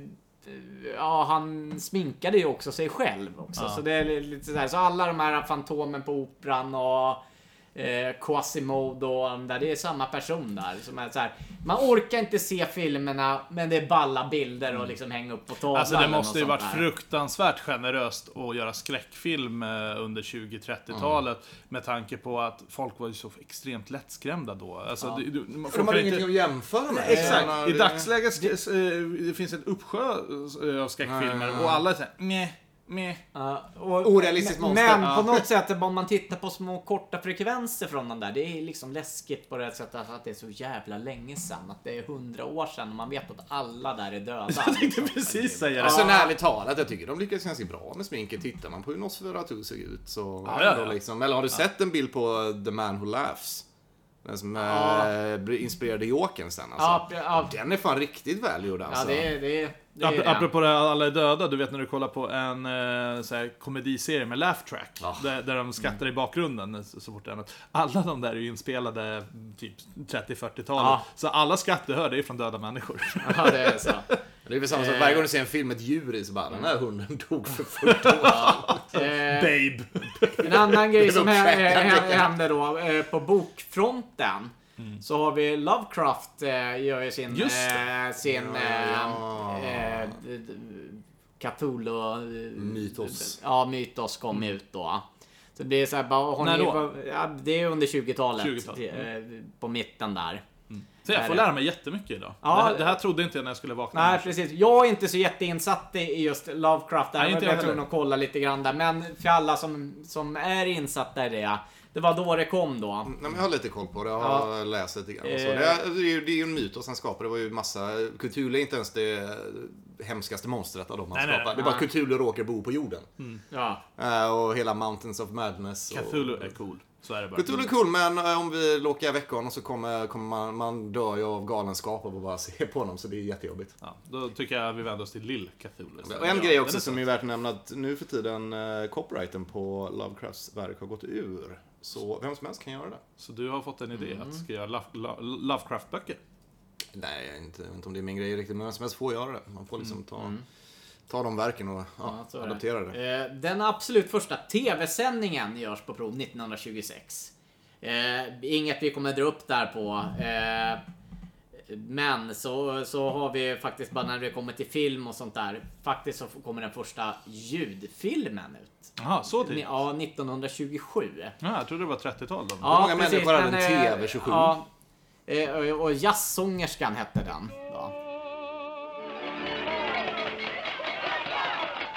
S3: Ja, han sminkade ju också sig själv också.
S2: Ja.
S3: Så det är li- lite så här. Så alla de här Fantomen på Operan och eh, Quasimodo och de där. Det är samma person där. Som är så här, man orkar inte se filmerna, men det är balla bilder och liksom hänga upp på tavlan.
S2: Mm. Alltså det
S3: eller
S2: måste ju
S3: något
S2: varit
S3: sånt där.
S2: fruktansvärt generöst att göra skräckfilm eh, under 20-30-talet
S3: Mm.
S2: med tanke på att folk var ju så extremt lättskrämda då. Alltså, det, du, man,
S1: De
S2: folk
S1: hade
S2: kan
S1: ingenting
S2: inte,
S1: att jämföra med.
S2: Exakt! I
S1: Det-
S2: dagsläget sk- eh, det finns en uppsjö eh, av skräckfilmer och alla är såhär meh, meh.
S3: Ja, och,
S1: Orealistiskt
S3: men,
S1: monster,
S3: Men
S1: ja.
S3: på något sätt, om man tittar på små korta frekvenser från den där, det är liksom läskigt på det sättet att det är så jävla länge sedan. Att det är hundra år sedan och man vet att alla där är
S2: *laughs*
S3: döda. Liksom.
S2: Jag tänkte precis säga det.
S1: Alltså ärligt talat, jag tycker de lyckas ganska bra med sminket. Tittar man på hur Nosferatu ser ut så...
S2: Ja, ja, ja.
S1: Då liksom, eller har du sett en bild på The Man Who Laughs? Den som eh, blir- inspirerade Jokern sen
S3: Ja,
S1: alltså.
S3: ja,
S1: Den är fan riktigt välgjord
S3: ja,
S1: alltså.
S3: det är det. Är, det är
S2: Ap-
S3: det.
S2: Apropå det här alla är döda, du vet när du kollar på en eh, så här, komediserie med laugh track.
S1: Ja.
S2: Där, där de skrattar i bakgrunden så så fort det är något. Alla de där är ju inspelade typ 30-40-talet.
S3: Ja.
S2: Så alla skratt du hör, det är från döda människor.
S3: Ja, det
S2: *laughs*
S3: är så.
S1: Det är väl samma som varje gång du ser en film med ett djur i så bara den här hunden dog för 40 år
S3: Eh,
S2: Babe!
S3: En annan
S1: Det
S3: grej
S1: är
S3: som
S1: nog
S3: hä-
S1: käkat,
S3: hä-
S1: tänker jag.
S3: hände då eh, på bokfronten. Så har vi Lovecraft eh, gör ju sin...
S2: Mm. Just
S3: eh, sin...
S1: Ja.
S3: Eh, eh, d- d- Cthulhu... eh,
S1: Mythos.
S3: Ja, Mythos kom ut då. Så det är så här, bara, har
S2: Mm. När
S3: ni,
S2: då? mm.
S3: vad- Ja, det är under 20-talet.
S2: 20-talet,
S3: eh, På mitten där.
S2: Så jag får lära mig jättemycket idag.
S3: Ja.
S2: det, här, det här trodde inte jag när jag skulle vakna.
S3: Nej, precis. Jag är inte så jätteinsatt i- i just Lovecraft. Där.
S2: Nej,
S3: Nej,
S2: inte
S3: jag
S2: jag
S3: var tvungen
S2: heller.
S3: att kolla lite grann där. Men för alla som, som är insatta i det. Det var då det kom då.
S1: Nej, men jag har lite koll på det. Jag har läst lite grann. Och så.
S3: Eh.
S1: Det, är, det, är ju, det är ju en myt och sen skapade det var ju massa... Cthulhu är inte ens det hemskaste monstret av dem han
S2: Nej, Mm. nej,
S1: skapade. Det
S3: nej.
S1: är bara att Cthulhu råkar bo på jorden.
S3: Ja.
S1: Eh, och hela Mountains of Madness.
S2: Cthulhu
S1: Och...
S2: är cool. Så är det bara.
S1: Cthulhu är cool, men eh, om vi lockar veckan och så kommer, kommer man, man dör ju av galenskap av att bara *laughs* se på honom, så det är jättejobbigt.
S2: Ja, då tycker jag vi vänder oss till Lill Cthulhu.
S1: Och en
S2: Ja,
S1: grej
S2: den
S1: också
S2: är
S1: som
S2: söt.
S1: är värt att nämna, att nu för tiden eh, copyrighten på Lovecrafts verk har gått ur. Så vem som helst kan göra det.
S2: Så du har fått en idé att skriva Lo- Lo- Lovecraft-böcker?
S1: Nej, jag vet inte, jag vet inte om det är min grej riktigt, men vem som helst får göra det. Man får liksom ta, ta de verken och ja,
S3: Mm, så är det.
S1: adaptera det.
S3: Eh, Den absolut första TV-sändningen görs på prov 1926. Eh, inget vi kommer dra upp där på. Eh, men så, så har vi faktiskt bara när det kommer till film och sånt där. Faktiskt så kommer den första ljudfilmen ut.
S2: Jaha, så tidigt? Ja.
S3: Ja, 1927.
S2: jag trodde det var 30-tal då.
S3: Ja,
S1: många människor hade
S3: men,
S1: en
S3: eh,
S1: TV 27?
S3: Ja, Eh, och- och jazzsångerskan hette den. Då.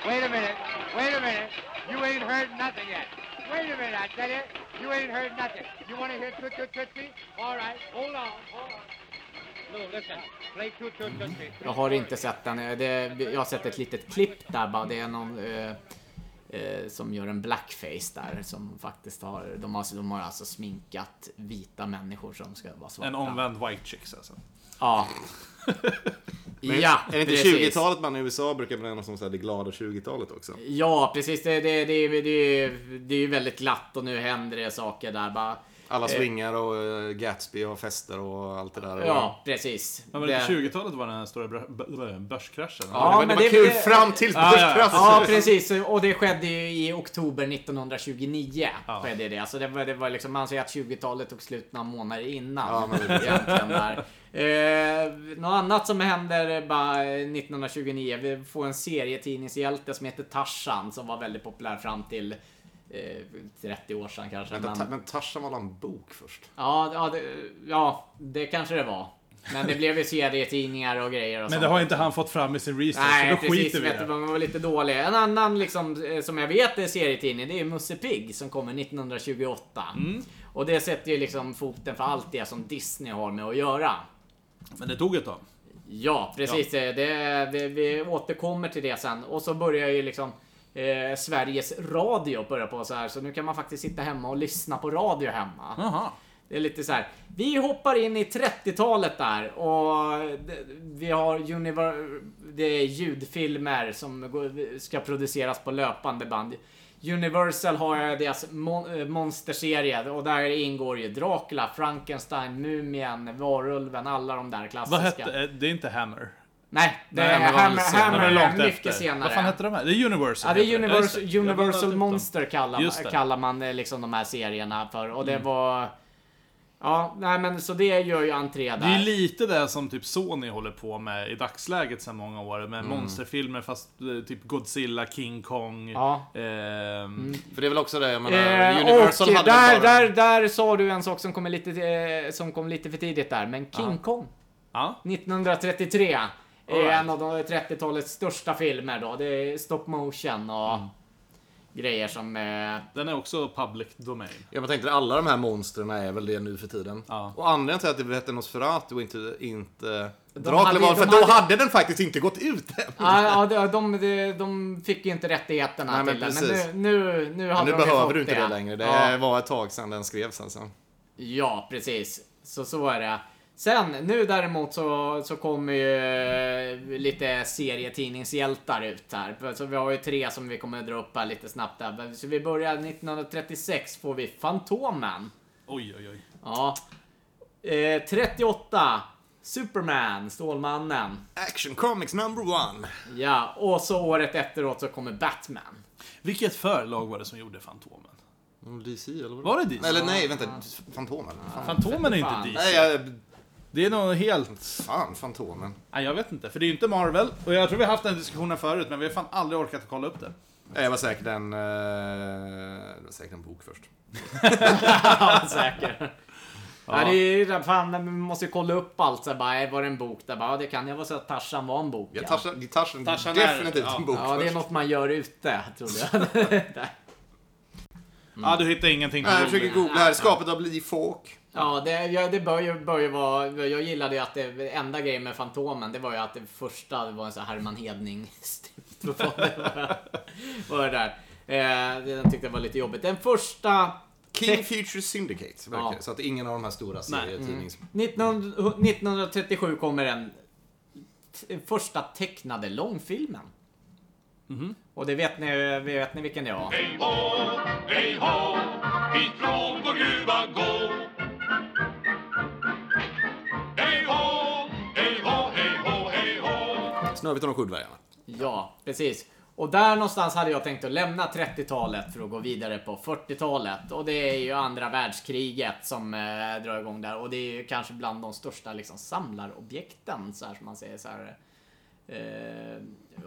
S5: Wait a minute. Wait a minute. You ain't heard nothing yet. Wait a minute, I tell you. You ain't heard nothing. You want to hear Toot Toot Tootsie? All right. Hold on. Hold on. Lou, listen. Play Toot Toot Tootsie.
S3: Jag har inte sett den. Eh, Det, jag har sett ett litet klipp där bara. Det är någon eh, eh, som gör en blackface där. Som faktiskt har, de har, de har alltså sminkat vita människor som ska vara svarta.
S2: En omvänd white chicks
S3: *laughs*
S2: alltså.
S3: Ja. ja,
S1: Är det inte
S3: precis.
S1: 20-talet man i USA brukar benämna som så här, det glada 20-talet också?
S3: Ja, precis. Det, det, det, det, det, det är ju väldigt glatt och nu händer det saker där bara.
S1: Alla swingar och eh, Gatsby har fester och allt det där.
S3: Ja, precis.
S2: Ja, men
S3: Det-
S2: 20-talet var den här stora br- br- börskraschen.
S1: Ja, det var,
S3: men
S1: det var
S3: det-
S1: kul
S3: det-
S1: fram till
S2: Ja, ja, ja.
S1: börskraschen.
S3: Ja, precis. Och det skedde ju i oktober 1929.
S2: Ja.
S3: Skedde det. Alltså det, var, det var liksom, man säger att 20-talet tog slut några månader innan.
S1: Ja, men det-
S3: egentligen där. Eh, något annat som händer eh, bara eh, 1929. Vi får en serietidningshjälte som heter Tarzan som var väldigt populär fram till eh, 30 år sedan kanske.
S1: Vänta,
S3: Men-
S1: ta, men Tarzan var en bok först?
S3: ja, ja, det, ja, det kanske det var. Men det blev ju serietidningar och grejer och
S2: Men
S3: sånt.
S2: det har inte han fått fram i sin research,
S3: Nej,
S2: så då
S3: precis.
S2: skiter vi i
S3: Vet du,
S2: det.
S3: man var lite dålig. En annan liksom, eh, som jag vet är serietidning, det är ju Musse Pigg som kommer 1928.
S2: Mm.
S3: Och det sätter ju liksom foten för allt det som Disney har med att göra.
S2: Men det tog ett tag.
S3: Ja, precis. Eh, Det, vi, vi återkommer till det sen. Och så börjar ju liksom eh, Sveriges Radio börja på så här. Så nu kan man faktiskt sitta hemma och lyssna på radio hemma.
S2: Jaha.
S3: Det är lite så här. Vi hoppar in i 30-talet där och det- vi har univer- det är ljudfilmer som går- ska produceras på löpande band. Universal har deras mon- eh, monsterserie och där ingår ju Dracula, Frankenstein, Mumien, Varulven, alla de där klassiska.
S2: Vad hette... eh, Det är inte Hammer.
S3: Alltså, Nej, det
S1: Nej, men
S3: är
S1: det var väl
S3: Hammer,
S1: senare.
S3: Hammer
S2: De är långt
S3: är
S2: efter.
S3: mycket senare.
S2: Vad fan hette de här? Det är Universal.
S3: Ja, det är
S1: Typ.
S2: heter
S3: Universal,
S2: just det. Jag blandade
S3: Universal
S2: ihop dem.
S3: Monster kallar man,
S2: Just det.
S3: kallar man eh, liksom de här serierna för. Och
S1: Mm.
S3: det var... Ja, nej men så det gör ju entré
S2: Det är ju
S3: där.
S2: lite det som typ Sony håller på med i dagsläget sedan många år. Med
S3: Mm.
S2: monsterfilmer fast eh, typ Godzilla, King Kong.
S3: Ja. Mm.
S2: ehm,
S1: För det är väl också det, jag menar,
S3: Eh,
S1: Universal
S3: och
S1: hade
S3: där,
S1: väl bara...
S3: där, där sa du en sak som kom lite, eh, som kom lite för tidigt där, men King Kong
S2: ja.
S3: 1933. är ju en av de 30-talets största filmer då. Det är stop motion och
S1: Mm.
S3: grejer
S1: *laughs*
S3: som... Eh,
S2: Den är också public domain.
S1: Jag bara tänkte att alla de här monstren är väl det nu för tiden.
S2: Ja.
S1: Och anledningen till att det hette Nosferatu och inte, inte
S3: hade-
S1: Dracula var
S3: de
S1: för att då
S3: hade-
S1: hade den faktiskt inte gått ut än.
S3: ja, ja, de, de, de fick ju inte rättigheterna
S1: Nej, men
S3: till den.
S1: precis.
S3: Men nu, nu, nu
S1: Men
S3: hade
S1: nu
S3: de ju
S1: behöver
S3: fått
S1: du inte det längre. Det
S3: Ja.
S1: var ett tag sedan den skrevs alltså.
S3: Ja, precis. Så så är det. Sen nu däremot så, så kommer ju eh, lite serietidningshjältar ut här. Så vi har ju tre som vi kommer att dra upp här lite snabbt där. Så vi börjar 1936 får vi Fantomen.
S2: Oj, oj, oj.
S3: Ja. Eh, 38 Superman, Stålmannen.
S1: Action Comics number one.
S3: Ja, och så året efteråt så kommer Batman. *laughs*
S2: Vilket förlag var det som gjorde Fantomen?
S1: DC eller vad
S2: Var det DC?
S1: Eller nej, vänta. Fantomen. Fan.
S2: Fantomen är inte
S3: Fan.
S1: Nej,
S2: DC.
S1: jag,
S2: Det är nog helt...
S1: fan Fantomen.
S2: Nej, jag vet inte. För det är ju inte Marvel. Och jag tror vi har haft den diskussionen förut, men vi har fan aldrig orkat kolla upp
S3: Mm.
S2: det.
S1: Nej, Jag var säkert en, eh, det var säkert en bok först.
S3: Ja, säkert. Ja. det är ju där fan, man måste ju kolla upp allt. Så här, bara, eh, var det en bok? Där bara, ja, det kan jag vara så att Tarzan var en bok.
S1: Ja,
S3: ja.
S1: Tarzan, det är Tarzan,
S2: Tarzan är-
S1: definitivt
S2: ja.
S1: en bok
S3: Ja, det är
S1: först.
S3: något man gör ute, trodde jag. *laughs* Där.
S2: Ah, du hittar ingenting på
S1: Nej, jag
S2: Google.
S1: försöker googla här. Skapet av Lee Falk.
S3: ja, det, ja, det bör ju, bör ju vara... Jag gillade ju att det enda grejen med Fantomen, det var ju att det första var en sån här Herman Hedning *laughs* Vad var det där. Eh, den tyckte jag var lite jobbigt. Den första...
S1: King Future Syndicate, verkar
S3: Ja.
S1: det. Så att ingen av de här stora serietidnings...
S3: 19, 1937 kommer den t- första tecknade långfilmen. Och det vet ni, vet ni vilken det var?
S6: Hej hå, hej hå, ifrån vår gruva gå. Hej hå, hej hå, hej hå, hej hå.
S1: Snövit och de sju dvärgarna.
S3: Ja, precis. Och där någonstans hade jag tänkt att lämna 30-talet för att gå vidare på 40-talet. Och det är ju andra världskriget som eh, drar igång där. Och det är ju kanske bland de största liksom, samlarobjekten, så här som man säger. Så här, eh,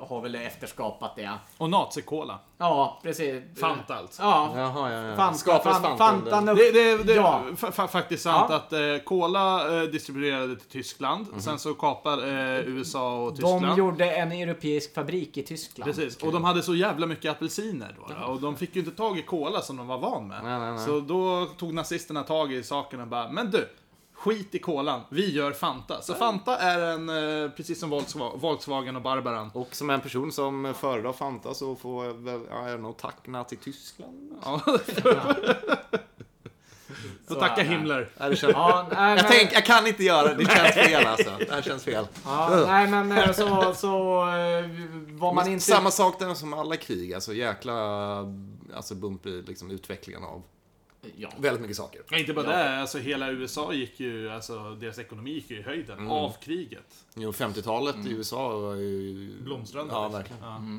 S3: har väl efterskapat det.
S2: Och nazikola.
S3: Ja, precis.
S2: Fanta alltså.
S3: Ja.
S1: Jaha, ja, ja.
S3: Fanta,
S1: Skapades
S3: fan,
S1: Fanta under-
S3: Fantan upp-
S2: Det, det, det
S3: ja.
S2: är fa- fa- faktiskt sant
S3: Ja. Mhm.
S2: att eh, Cola eh, distribuerade till Tyskland. Sen så kapar eh, USA och Tyskland.
S3: De gjorde en europeisk fabrik i Tyskland.
S2: Precis, och de hade så jävla mycket apelsiner då. då. Och de fick ju inte tag i cola som de var van med.
S1: Nej, nej, nej.
S2: Så då tog nazisterna tag i saken och bara, men du, skit i kolan, vi gör Fanta. Så Fanta är en, eh, precis som Volkswa- Volkswagen och Barbaran.
S1: Och som en person som föredrar Fanta så får jag väl, ja, jag nog tackna till Tyskland.
S2: Ja. så
S3: Så
S2: tacka
S3: är det.
S2: Himmler.
S1: Ja, det känns...
S3: Ja,
S1: jag,
S3: nej, men-
S1: tänk, jag kan inte göra det, det känns fel alltså. Det här känns fel.
S2: *laughs*
S3: Ja, nej men eh, så, så eh, var man inte...
S1: Samma sak där som alla krig, alltså jäkla alltså bump i liksom, utvecklingen av
S3: Ja.
S1: väldigt mycket saker.
S2: Nej, inte bara det, alltså hela USA gick ju, alltså deras ekonomi gick ju i höjden av kriget.
S1: Jo, 50-talet i USA var ju...
S2: Blomstrande.
S1: Ja,
S2: liksom.
S1: verkligen.
S2: Ja.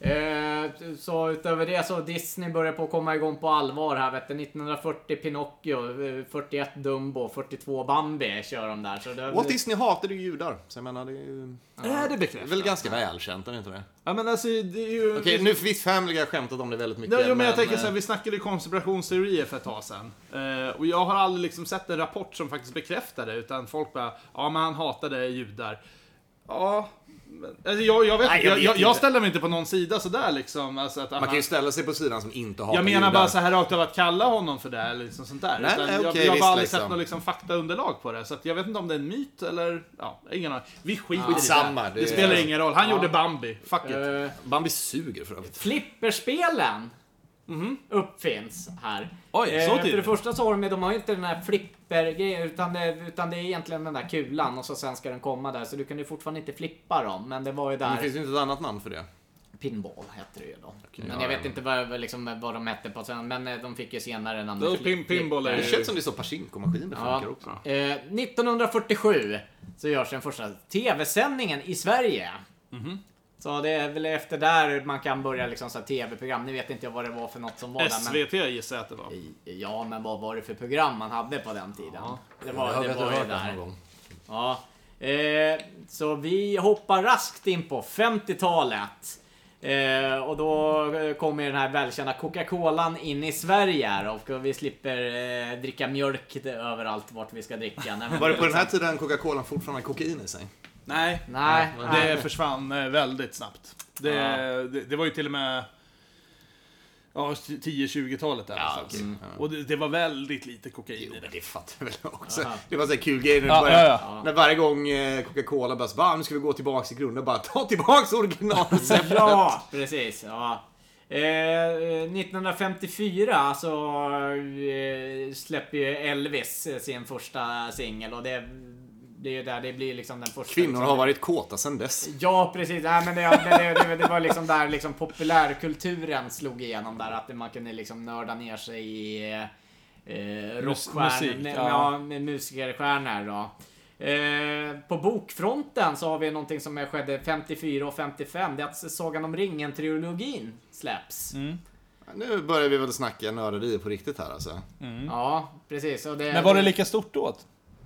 S3: Eh, så utöver det så Disney börjar på att komma igång på allvar här vet du. 1940 Pinocchio, eh, 41 Dumbo, 42 Bambi kör de där. Så det,
S1: Walt Disney hatade ju judar, så jag menar det är ju...
S2: Är det
S1: Det är
S2: bekräftat?
S1: väl ganska välkänt, är det inte det?
S2: Ja men alltså det är ju...
S1: Okej, nu för visst Family har jag skämtat om det väldigt mycket.
S2: Nej, jo, men jag tänker så här,
S1: eh,
S2: vi snackade ju konspirationsteorier för ett tag sedan. Eh, och jag har aldrig liksom sett en rapport som faktiskt bekräftar det, utan folk bara ja men han hatade judar. Ja, men, alltså, jag, jag, vet,
S1: Nej, jag
S2: jag,
S1: vet
S2: jag, jag
S1: inte.
S2: ställer mig inte på någon sida sådär liksom. Alltså, att,
S1: Man kan
S2: han-
S1: ju ställa sig på sidan som inte hatar
S2: jag menar
S1: judar.
S2: bara så här rakt av att kalla honom för det eller liksom sånt där.
S1: Nej,
S2: Utan
S1: nej,
S2: jag,
S1: okej,
S2: jag har
S1: visst,
S2: bara aldrig sett
S1: liksom.
S2: något liksom, faktaunderlag på det. Så att jag vet inte om det är en myt eller... Ja, ingen aning. Vi skiter i det.
S1: Skitsamma,
S2: Det,
S1: det-
S2: spelar ingen roll. Han
S3: Ja.
S2: gjorde Bambi. Fuck it.
S3: eh,
S1: Bambi suger för övrigt.
S3: flipperspelen uppfinns här.
S2: Mhm.
S3: Eh,
S2: Oj, så
S3: För det
S2: tidigt.
S3: första så har de, ju- de har ju inte den här flippergrejen utan, det- utan det är egentligen den där kulan och så sen ska den komma där. Så du kan ju fortfarande inte flippa dem. Men det var ju där...
S1: Men finns det inte ett annat namn för det?
S3: Pinball hette det ju då. men
S1: ja,
S3: jag
S1: ja.
S3: vet inte vad, liksom, vad de hette på sen. Men eh, de fick ju senare namnet.
S2: Då pin- pinball är
S1: Det
S2: ju-
S1: känns som det är så Pachinko-maskiner
S3: Ja.
S1: funkar också.
S3: Eh, 1947 så görs den första TV-sändningen i Sverige.
S1: Mhm.
S3: Så det är väl efter där man kan börja liksom så här TV-program. Nu vet inte jag vad det var för något som var där.
S2: SVT gissar jag att det var.
S3: Men, ja, men vad var det för program man hade på den tiden? Det var,
S1: Jag
S3: det
S1: vet, jag
S3: var
S1: har hört
S3: ju
S1: det någon
S3: där.
S1: gång.
S3: Ja. Eh, så vi hoppar raskt in på 50-talet. Eh, och då eh, kommer den här välkända Coca-Colan in i Sverige här och vi slipper eh, dricka mjölk överallt vart vi ska dricka. Nej, men
S1: Var det på den
S3: liksom-
S1: här tiden Coca-Cola fortfarande hade kokain i sig?
S2: Nej,
S3: *laughs* Nej. nej.
S1: Ah.
S2: det försvann eh, väldigt snabbt. Det, det, det var ju till och med ja, 10-20-talet där någonstans.
S1: okej. Mm.
S2: Och det, det var väldigt lite kokain i
S1: Men
S2: det.
S1: det fattar jag väl också. Det var så här kul grej när, det
S2: Ja,
S1: började,
S2: ja, ja.
S1: när varje gång eh, Coca-Cola bara så bara, "Ah, nu ska vi gå tillbaks till grunden. Bara ta tillbaks *laughs* originalreceptet.
S3: Ja, precis. Ja. Eh, 1954 så eh, släpper ju Elvis sin första singel och det, det är ju där det blir liksom den första...
S1: Kvinnor
S3: liksom,
S1: har varit kåta sedan dess.
S3: Ja, precis. Nej, men det, men det, det, det var liksom där liksom populärkulturen slog igenom där. Att man kunde liksom nörda ner sig i eh,
S2: musik,
S3: rockstjärnor.
S2: ja.
S3: Ja, med musikerstjärnor då. Eh, på bokfronten så har vi någonting som skedde 54 och 55. Det är att Sagan om ringen-trilogin släpps.
S2: Mm.
S1: Nu börjar vi väl snacka nörderi på riktigt här alltså.
S3: Ja, precis. Och det,
S2: Men var det lika stort då?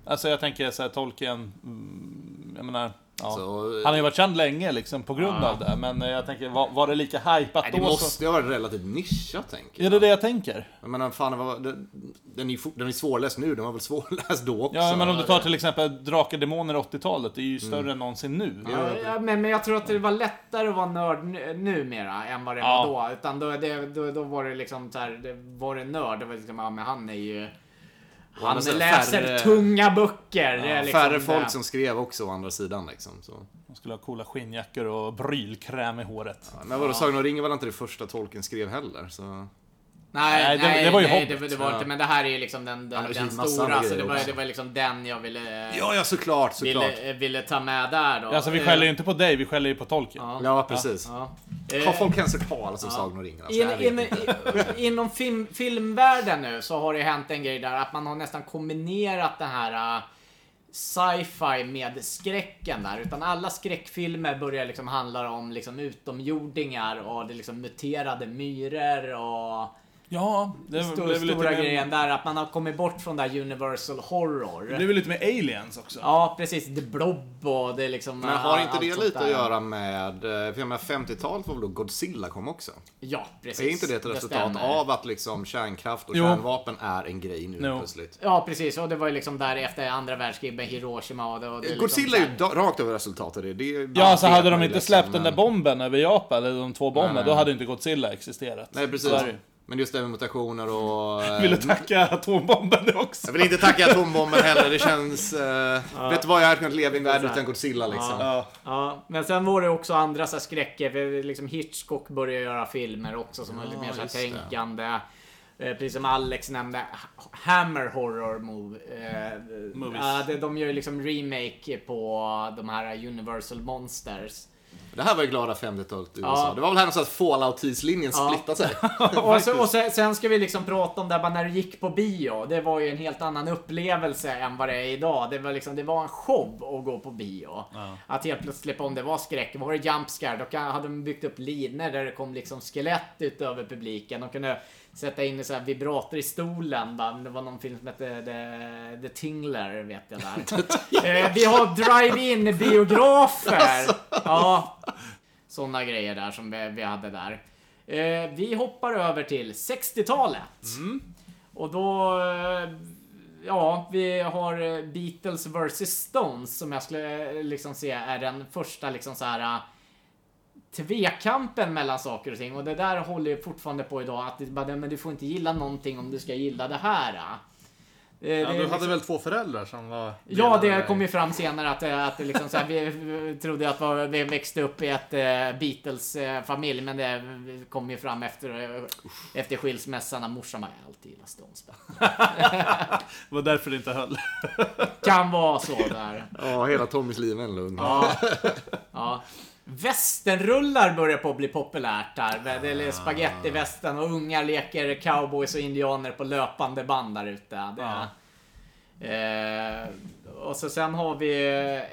S2: Alltså jag tänker så här, Tolkien, mm, jag menar, ja.
S1: Så, eh,
S2: han har ju varit känd länge liksom på grund av det. Men eh, jag tänker, var, var det lika hajpat
S1: Nej,
S2: då?
S1: det
S2: Så,
S1: måste ju ha varit relativt nischat tänker
S2: är det det jag tänker?
S1: Jag menar, fan, vad- den, den, är ju fort- den är svårläst nu, den var väl svårläst då också? Mm.
S2: Ja, men om du tar till exempel Drakar Demoner 80-talet, det är ju större än någonsin nu.
S3: Ja, ja, men, men jag tror att det var lättare att vara nörd nu- numera än vad det
S2: Ja.
S3: var då. Utan då, det, då, då var det liksom så här, det var det nörd. Det var liksom, ja men han är ju... Han
S1: andra sidan
S3: läser
S1: färre-
S3: tunga böcker. det är liksom
S1: Färre folk
S3: det.
S1: som skrev också å andra sidan liksom. Så.
S2: De skulle ha coola skinnjackor och brylkräm i håret.
S1: Men vadå, Sagan om ringen var inte det första tolken skrev heller? Så.
S3: Nej,
S2: Nej,
S3: nej,
S2: det-
S3: nej,
S2: det var ju
S3: det,
S2: Hobbit.
S3: det var inte. Men det här är ju liksom den,
S1: Han
S3: den,
S1: har
S3: den
S1: skrivit massa
S3: stora.
S1: andra
S3: Så det
S1: grejer
S3: var,
S1: också.
S3: det var liksom den jag ville,
S1: Ja, ja såklart, såklart.
S3: ville, ville ta med där då.
S2: Alltså vi
S3: Eh,
S2: skäller ju inte på dig, vi skäller ju på Tolkien.
S1: Ja, precis.
S3: ja.
S1: Har
S3: Eh,
S1: folk ens hört talas om Sagan om ringen? Alltså,
S3: In,
S1: jag vet
S3: in,
S1: inte.
S3: i- inom film, filmvärlden nu så har det hänt en grej där att man har nästan kombinerat den här äh, sci-fi med skräcken där. Utan alla skräckfilmer börjar liksom handla om liksom utomjordingar och det liksom muterade myror och
S2: Ja, det, är-
S3: sto-
S2: det är väl lite
S3: stora
S2: mer-
S3: grejen där. Att man har kommit bort från det här universal horror.
S2: Det är väl lite med aliens också?
S3: Ja, precis. The Blob och det är liksom...
S1: Men har
S3: äh,
S1: inte
S3: allt
S1: det
S3: sånt
S1: lite
S3: där.
S1: att göra med... eh, För jag menar 50-talet var väl då Godzilla kom också?
S3: Ja, precis.
S1: Är inte det ett resultat
S3: stämmer.
S1: av att liksom kärnkraft och
S2: Jo.
S1: kärnvapen är en grej nu
S2: Jo.
S1: plötsligt?
S3: Ja, precis. Och det var ju liksom där efter andra världskriget med Hiroshima och det, och det
S1: Godzilla är
S3: liksom,
S1: ju da- rakt över resultatet. Det, det
S2: Ja, alltså
S1: vet
S2: hade
S1: man
S2: de
S1: ju
S2: inte
S1: liksom,
S2: släppt den
S1: men-
S2: där bomben över Japan, eller de två bomberna,
S1: nej,
S2: då
S1: nej.
S2: hade inte Godzilla existerat.
S1: Nej, precis.
S2: Så är det ju.
S1: Men just det med mutationer och... eh,
S2: *laughs* Jag vill tacka atombomben också.
S1: Jag vill inte tacka atombomben heller. Det känns...
S3: *laughs*
S1: eh, Vet du vad, jag hade kunnat leva i en värld utan Godzilla liksom.
S2: Ja.
S3: Ja, men sen var det också andra så här skräcker. för Liksom Hitchcock började göra filmer också som var lite mer så här
S1: just det.
S3: tänkande. Eh, Precis som Alex nämnde, H- Hammer Horror Move.
S2: Movies.
S3: Eh, de, de gör ju liksom remake på de här Universal Monsters.
S1: Det här var ju glada 50-talet i
S3: Ja.
S1: USA. Det var väl här någonstans Fallout-tidslinjen
S3: *laughs* Ja.
S1: splittade sig.
S3: och så, och sen, sen ska vi liksom prata om det här, bara när du gick på bio. Det var ju en helt annan upplevelse än vad det är idag. Det var, liksom, det var en show att gå på bio. Att helt plötsligt, om det var skräck, var det jump scare, då kan, hade de byggt upp linor där det kom liksom skelett ut över publiken. De kunde sätta in så här vibrator i stolen. Bara, Det var någon film som hette The, The Tingler, vet jag där. eh, vi har drive-in biografer. Ja, sådana grejer där som vi, vi hade där. Eh, vi hoppar över till 60-talet. Och då... eh, Ja, vi har eh, Beatles vs Stones som jag skulle eh, liksom se är den första liksom så här eh, tvekampen mellan saker och ting och det där håller ju fortfarande på idag att det bara, men du får inte gilla någonting om du ska gilla det här. eh. Eh, det är liksom-
S2: väl två föräldrar som var...
S3: Ja, det kom ju fram senare att, eh, att det liksom så här, vi eh, trodde att vad- vi växte upp i ett eh, Beatles-familj, men det kom ju fram efter, eh, efter skilsmässan när morsan bara, jag har alltid gillat Stones.
S2: *laughs* Det var därför det inte höll.
S3: *laughs* Kan vara så där.
S1: Ja, hela Tommys liv är en lugn.
S3: Ja. ja. Västernrullar börjar på att bli populärt där. Det är spagettivästen och ungar leker cowboys och indianer på löpande band där ute. Det är... Eh, och så sen har vi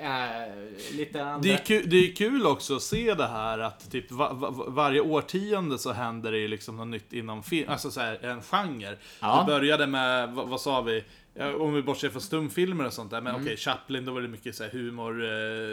S3: eh, lite andra...
S2: Det är, kul, det är kul också att se det här att typ va, va, varje årtionde så händer det ju liksom något nytt inom film, alltså så här, en genre.
S3: Ja.
S2: Det började med, vad, vad sa vi? Ja, Om vi bortser från stumfilmer och sånt där,
S1: Mm.
S2: men okej, Chaplin, då var det mycket så här humor,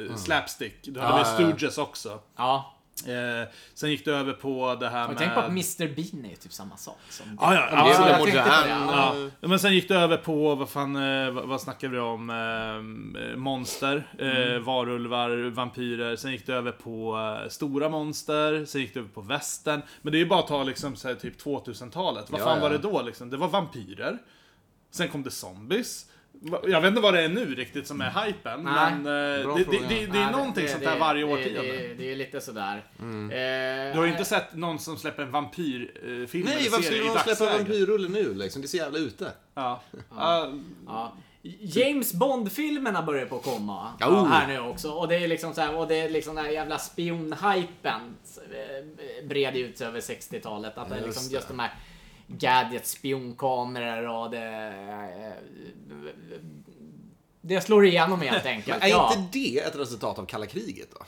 S2: eh, slapstick. Du
S1: Ja,
S2: hade väl
S1: ja, ja.
S2: Stooges också.
S3: Ja,
S2: Eh, sen gick det över på det här
S3: Och
S2: med...
S3: tänk på att Mr Bean är ju typ samma sak som det.
S2: eh, Ja, ja,
S1: Det
S2: absolut.
S1: är väl
S3: jag
S1: en
S3: tänkte på det,
S1: modern...
S3: ja.
S1: eh,
S2: Ja, men sen gick det över på, vad fan, eh, vad, vad snackar vi om? Eh, monster, eh, varulvar, vampyrer. Sen gick det över på eh, stora monster, sen gick det över på västern. Men det är ju bara att ta liksom så här, typ 2000-talet. Vad
S1: Ja,
S2: fan
S1: ja.
S2: var det då liksom? Det var vampyrer. Sen kom det zombies. Va- Jag vet inte vad det är nu riktigt som är hypen,
S3: Nej,
S2: men eh,
S1: bra
S2: det, det,
S1: fråga.
S2: det, det är
S3: Nej,
S2: någonting
S3: det-
S2: sånt
S3: det-
S2: där varje
S3: det-
S2: årtionde. Mm.
S3: Det, det är ju lite sådär. Eh,
S2: Du har ju inte sett någon som släpper en vampyrfilm eh, film
S1: Nej,
S2: eller
S1: varför
S2: serie
S1: skulle
S2: i
S1: de släppa
S2: dagsläget?
S1: vampyrrulle nu liksom? Det är så jävla ute.
S2: Ja. Ja.
S3: Ja. James Bond-filmerna börjar på att komma
S1: Ja, oh.
S3: här nu också. Och det är liksom så här, och det är liksom den här jävla spionhypen eh, bred ut sig över 60-talet. Att det är
S1: Just
S3: liksom
S1: det.
S3: just de här gadgets, spionkameror och det... eh, Det slår
S2: *laughs*
S3: igenom helt enkelt.
S1: Är
S3: ja.
S1: inte det ett resultat av kalla kriget då?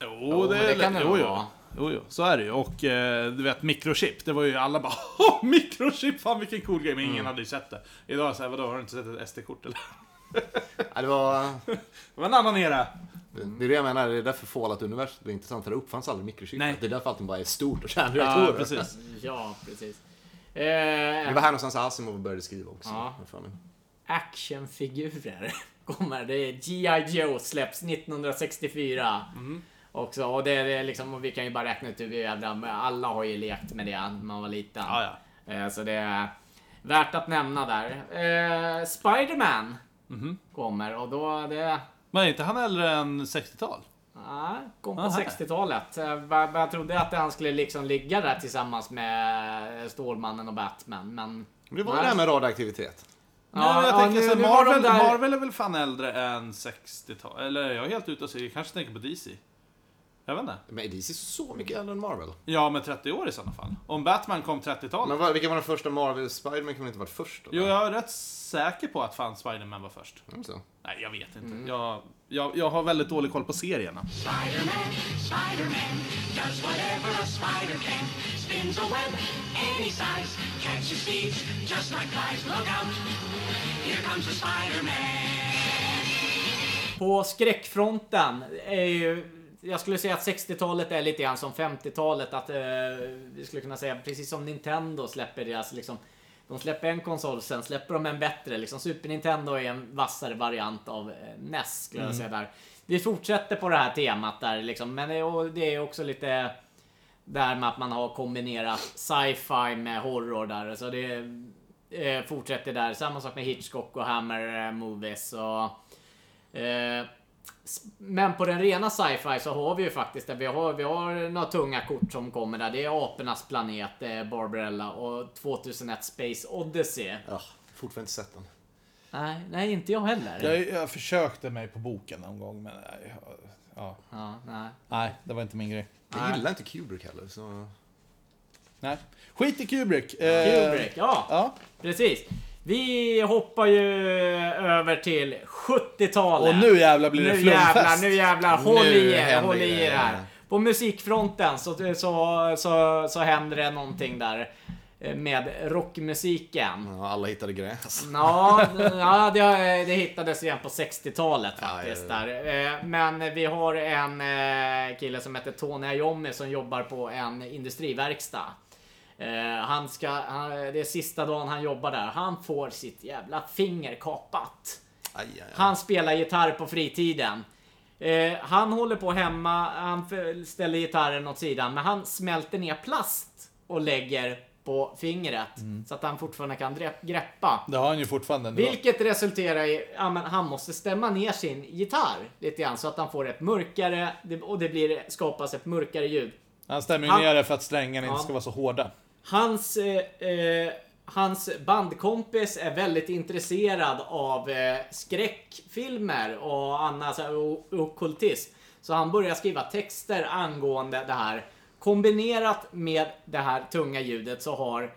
S2: Jo,
S3: Jo,
S2: det,
S3: men det
S2: är
S3: kan
S2: lätt-
S3: det
S2: jo,
S3: nog
S2: jo.
S3: vara.
S2: jo, jo, så är det ju. Och eh, du vet, mikrochip, det var ju alla bara *laughs* "Åh, mikrochip, fan vilken cool grej, men
S3: Mm.
S2: ingen hade ju sett det. Idag är det såhär, vadå, har du inte sett ett SD-kort eller? *laughs*
S1: Ja, det var...
S2: Det var en annan era.
S1: Det är det jag menar, det är därför Fallout-universum är intressant, för det uppfanns aldrig mikrochip.
S2: Nej.
S1: Det är därför allting bara är stort och
S2: Ja,
S1: kärnreaktorer.
S2: precis.
S3: Ja, precis.
S1: det
S3: Eh,
S1: var här någonstans Asimov började skriva också.
S3: Ja.
S1: Vad fan är det?
S3: actionfigurer *laughs* kommer. Det är G.I. Joe släpps 1964.
S2: Mm.
S3: Också, och det är liksom, och vi kan ju bara räkna ut hur jävla, men alla har ju lekt med det när man var liten.
S2: Ja, ja.
S3: Eh, Så det är värt att nämna där. Eh, Spiderman
S2: Mm-hmm.
S3: kommer och då, det,
S2: Men är inte han äldre än 60-tal?
S3: nej, kom på
S2: Aha.
S3: 60-talet. Eh, va- va- Jag trodde att han skulle liksom ligga där tillsammans med Stålmannen och Batman, men...
S1: Men det var
S3: Nej.
S1: det här med radioaktivitet.
S2: Nej, men jag tänker
S3: nu-
S2: så här,
S3: nu var de
S2: Marvel,
S3: där-
S2: Marvel är väl fan äldre än 60-tal? Eller är jag helt ute och cyklar? Jag kanske tänker på DC? Jag vet inte.
S1: Men DC är så mycket äldre än Marvel.
S2: Ja, med 30 år i sådana fall. Om Batman kom 30-talet.
S1: Men vad, vilka var de första Marvel? Spiderman kan väl inte ha varit först? Då,
S2: Jo, jag är rätt säker på att fan Spider-Man var först.
S1: Mm, så.
S2: Nej, jag vet inte. Jag, jag, jag har väldigt dålig koll på serierna.
S7: Spider-Man, Spider-Man, does whatever a spider can. Spins a web any size, catches thieves just like flies. Look out, here comes the Spider-Man.
S3: På skräckfronten är ju... Jag skulle säga att 60-talet är lite grann som 50-talet. Att eh, vi skulle kunna säga precis som Nintendo släpper deras liksom... De släpper en konsol, sen släpper de en bättre. Liksom Super Nintendo är en vassare variant av eh, NES skulle jag säga där. Vi fortsätter på det här temat där liksom, men det, och det är också lite... Där med att man har kombinerat sci-fi med horror där. Så det eh, fortsätter där. Samma sak med Hitchcock och Hammer eh, Movies och... Eh, s- men på den rena sci-fi så har vi ju faktiskt det. Vi har, vi har några tunga kort som kommer där. Det är Apornas planet, eh, Barbarella och 2001 Space Odyssey.
S1: Ja, fortfarande inte sett den.
S3: Nej, nej inte jag heller.
S2: Jag, jag försökte mig på boken någon gång, men nej, ja.
S3: Ja, nej.
S2: nej, det var inte min grej.
S1: Jag gillar inte Kubrick heller, så...
S2: Nej. Skit i Kubrick! Eh,
S3: Eh, Kubrick, ja.
S2: Ja.
S3: Precis. Vi hoppar ju över till 70-talet.
S2: Och nu jävlar blir det
S3: nu
S2: flumfest.
S3: jävlar, nu jävlar. Håll
S1: Nu
S3: i er,
S1: händer
S3: håll i er
S1: grejer.
S3: här. På musikfronten så, så, så, så händer det någonting där eh, med rockmusiken.
S1: Ja, alla hittade gräs.
S2: Mm.
S3: Ja, ja det, det hittades igen på 60-talet faktiskt.
S1: Ja,
S3: Där. Eh, Men vi har en eh, kille som heter Tony Iommi som jobbar på en industriverkstad. Eh, Han ska, han, det är sista dagen han jobbar där. Han får sitt jävla finger kapat.
S1: Aj, aj, aj.
S3: Han spelar gitarr på fritiden. Eh, han håller på hemma, han f- ställer gitarren åt sidan, men han smälter ner plast och lägger på fingret
S1: Mm.
S3: så att han fortfarande kan dre- greppa.
S2: Det har han ju fortfarande. nu.
S3: Vilket resulterar i att han måste stämma ner sin gitarr lite grann så att han får ett mörkare det- och det blir, skapas ett mörkare ljud.
S2: Han stämmer ju
S3: Han-
S2: ner det för att strängarna
S3: Ja.
S2: inte ska vara så hårda.
S3: Hans, eh, eh, hans bandkompis är väldigt intresserad av eh, skräckfilmer och annat så här, o- ockultism. Så han börjar skriva texter angående det här. Kombinerat med det här tunga ljudet så har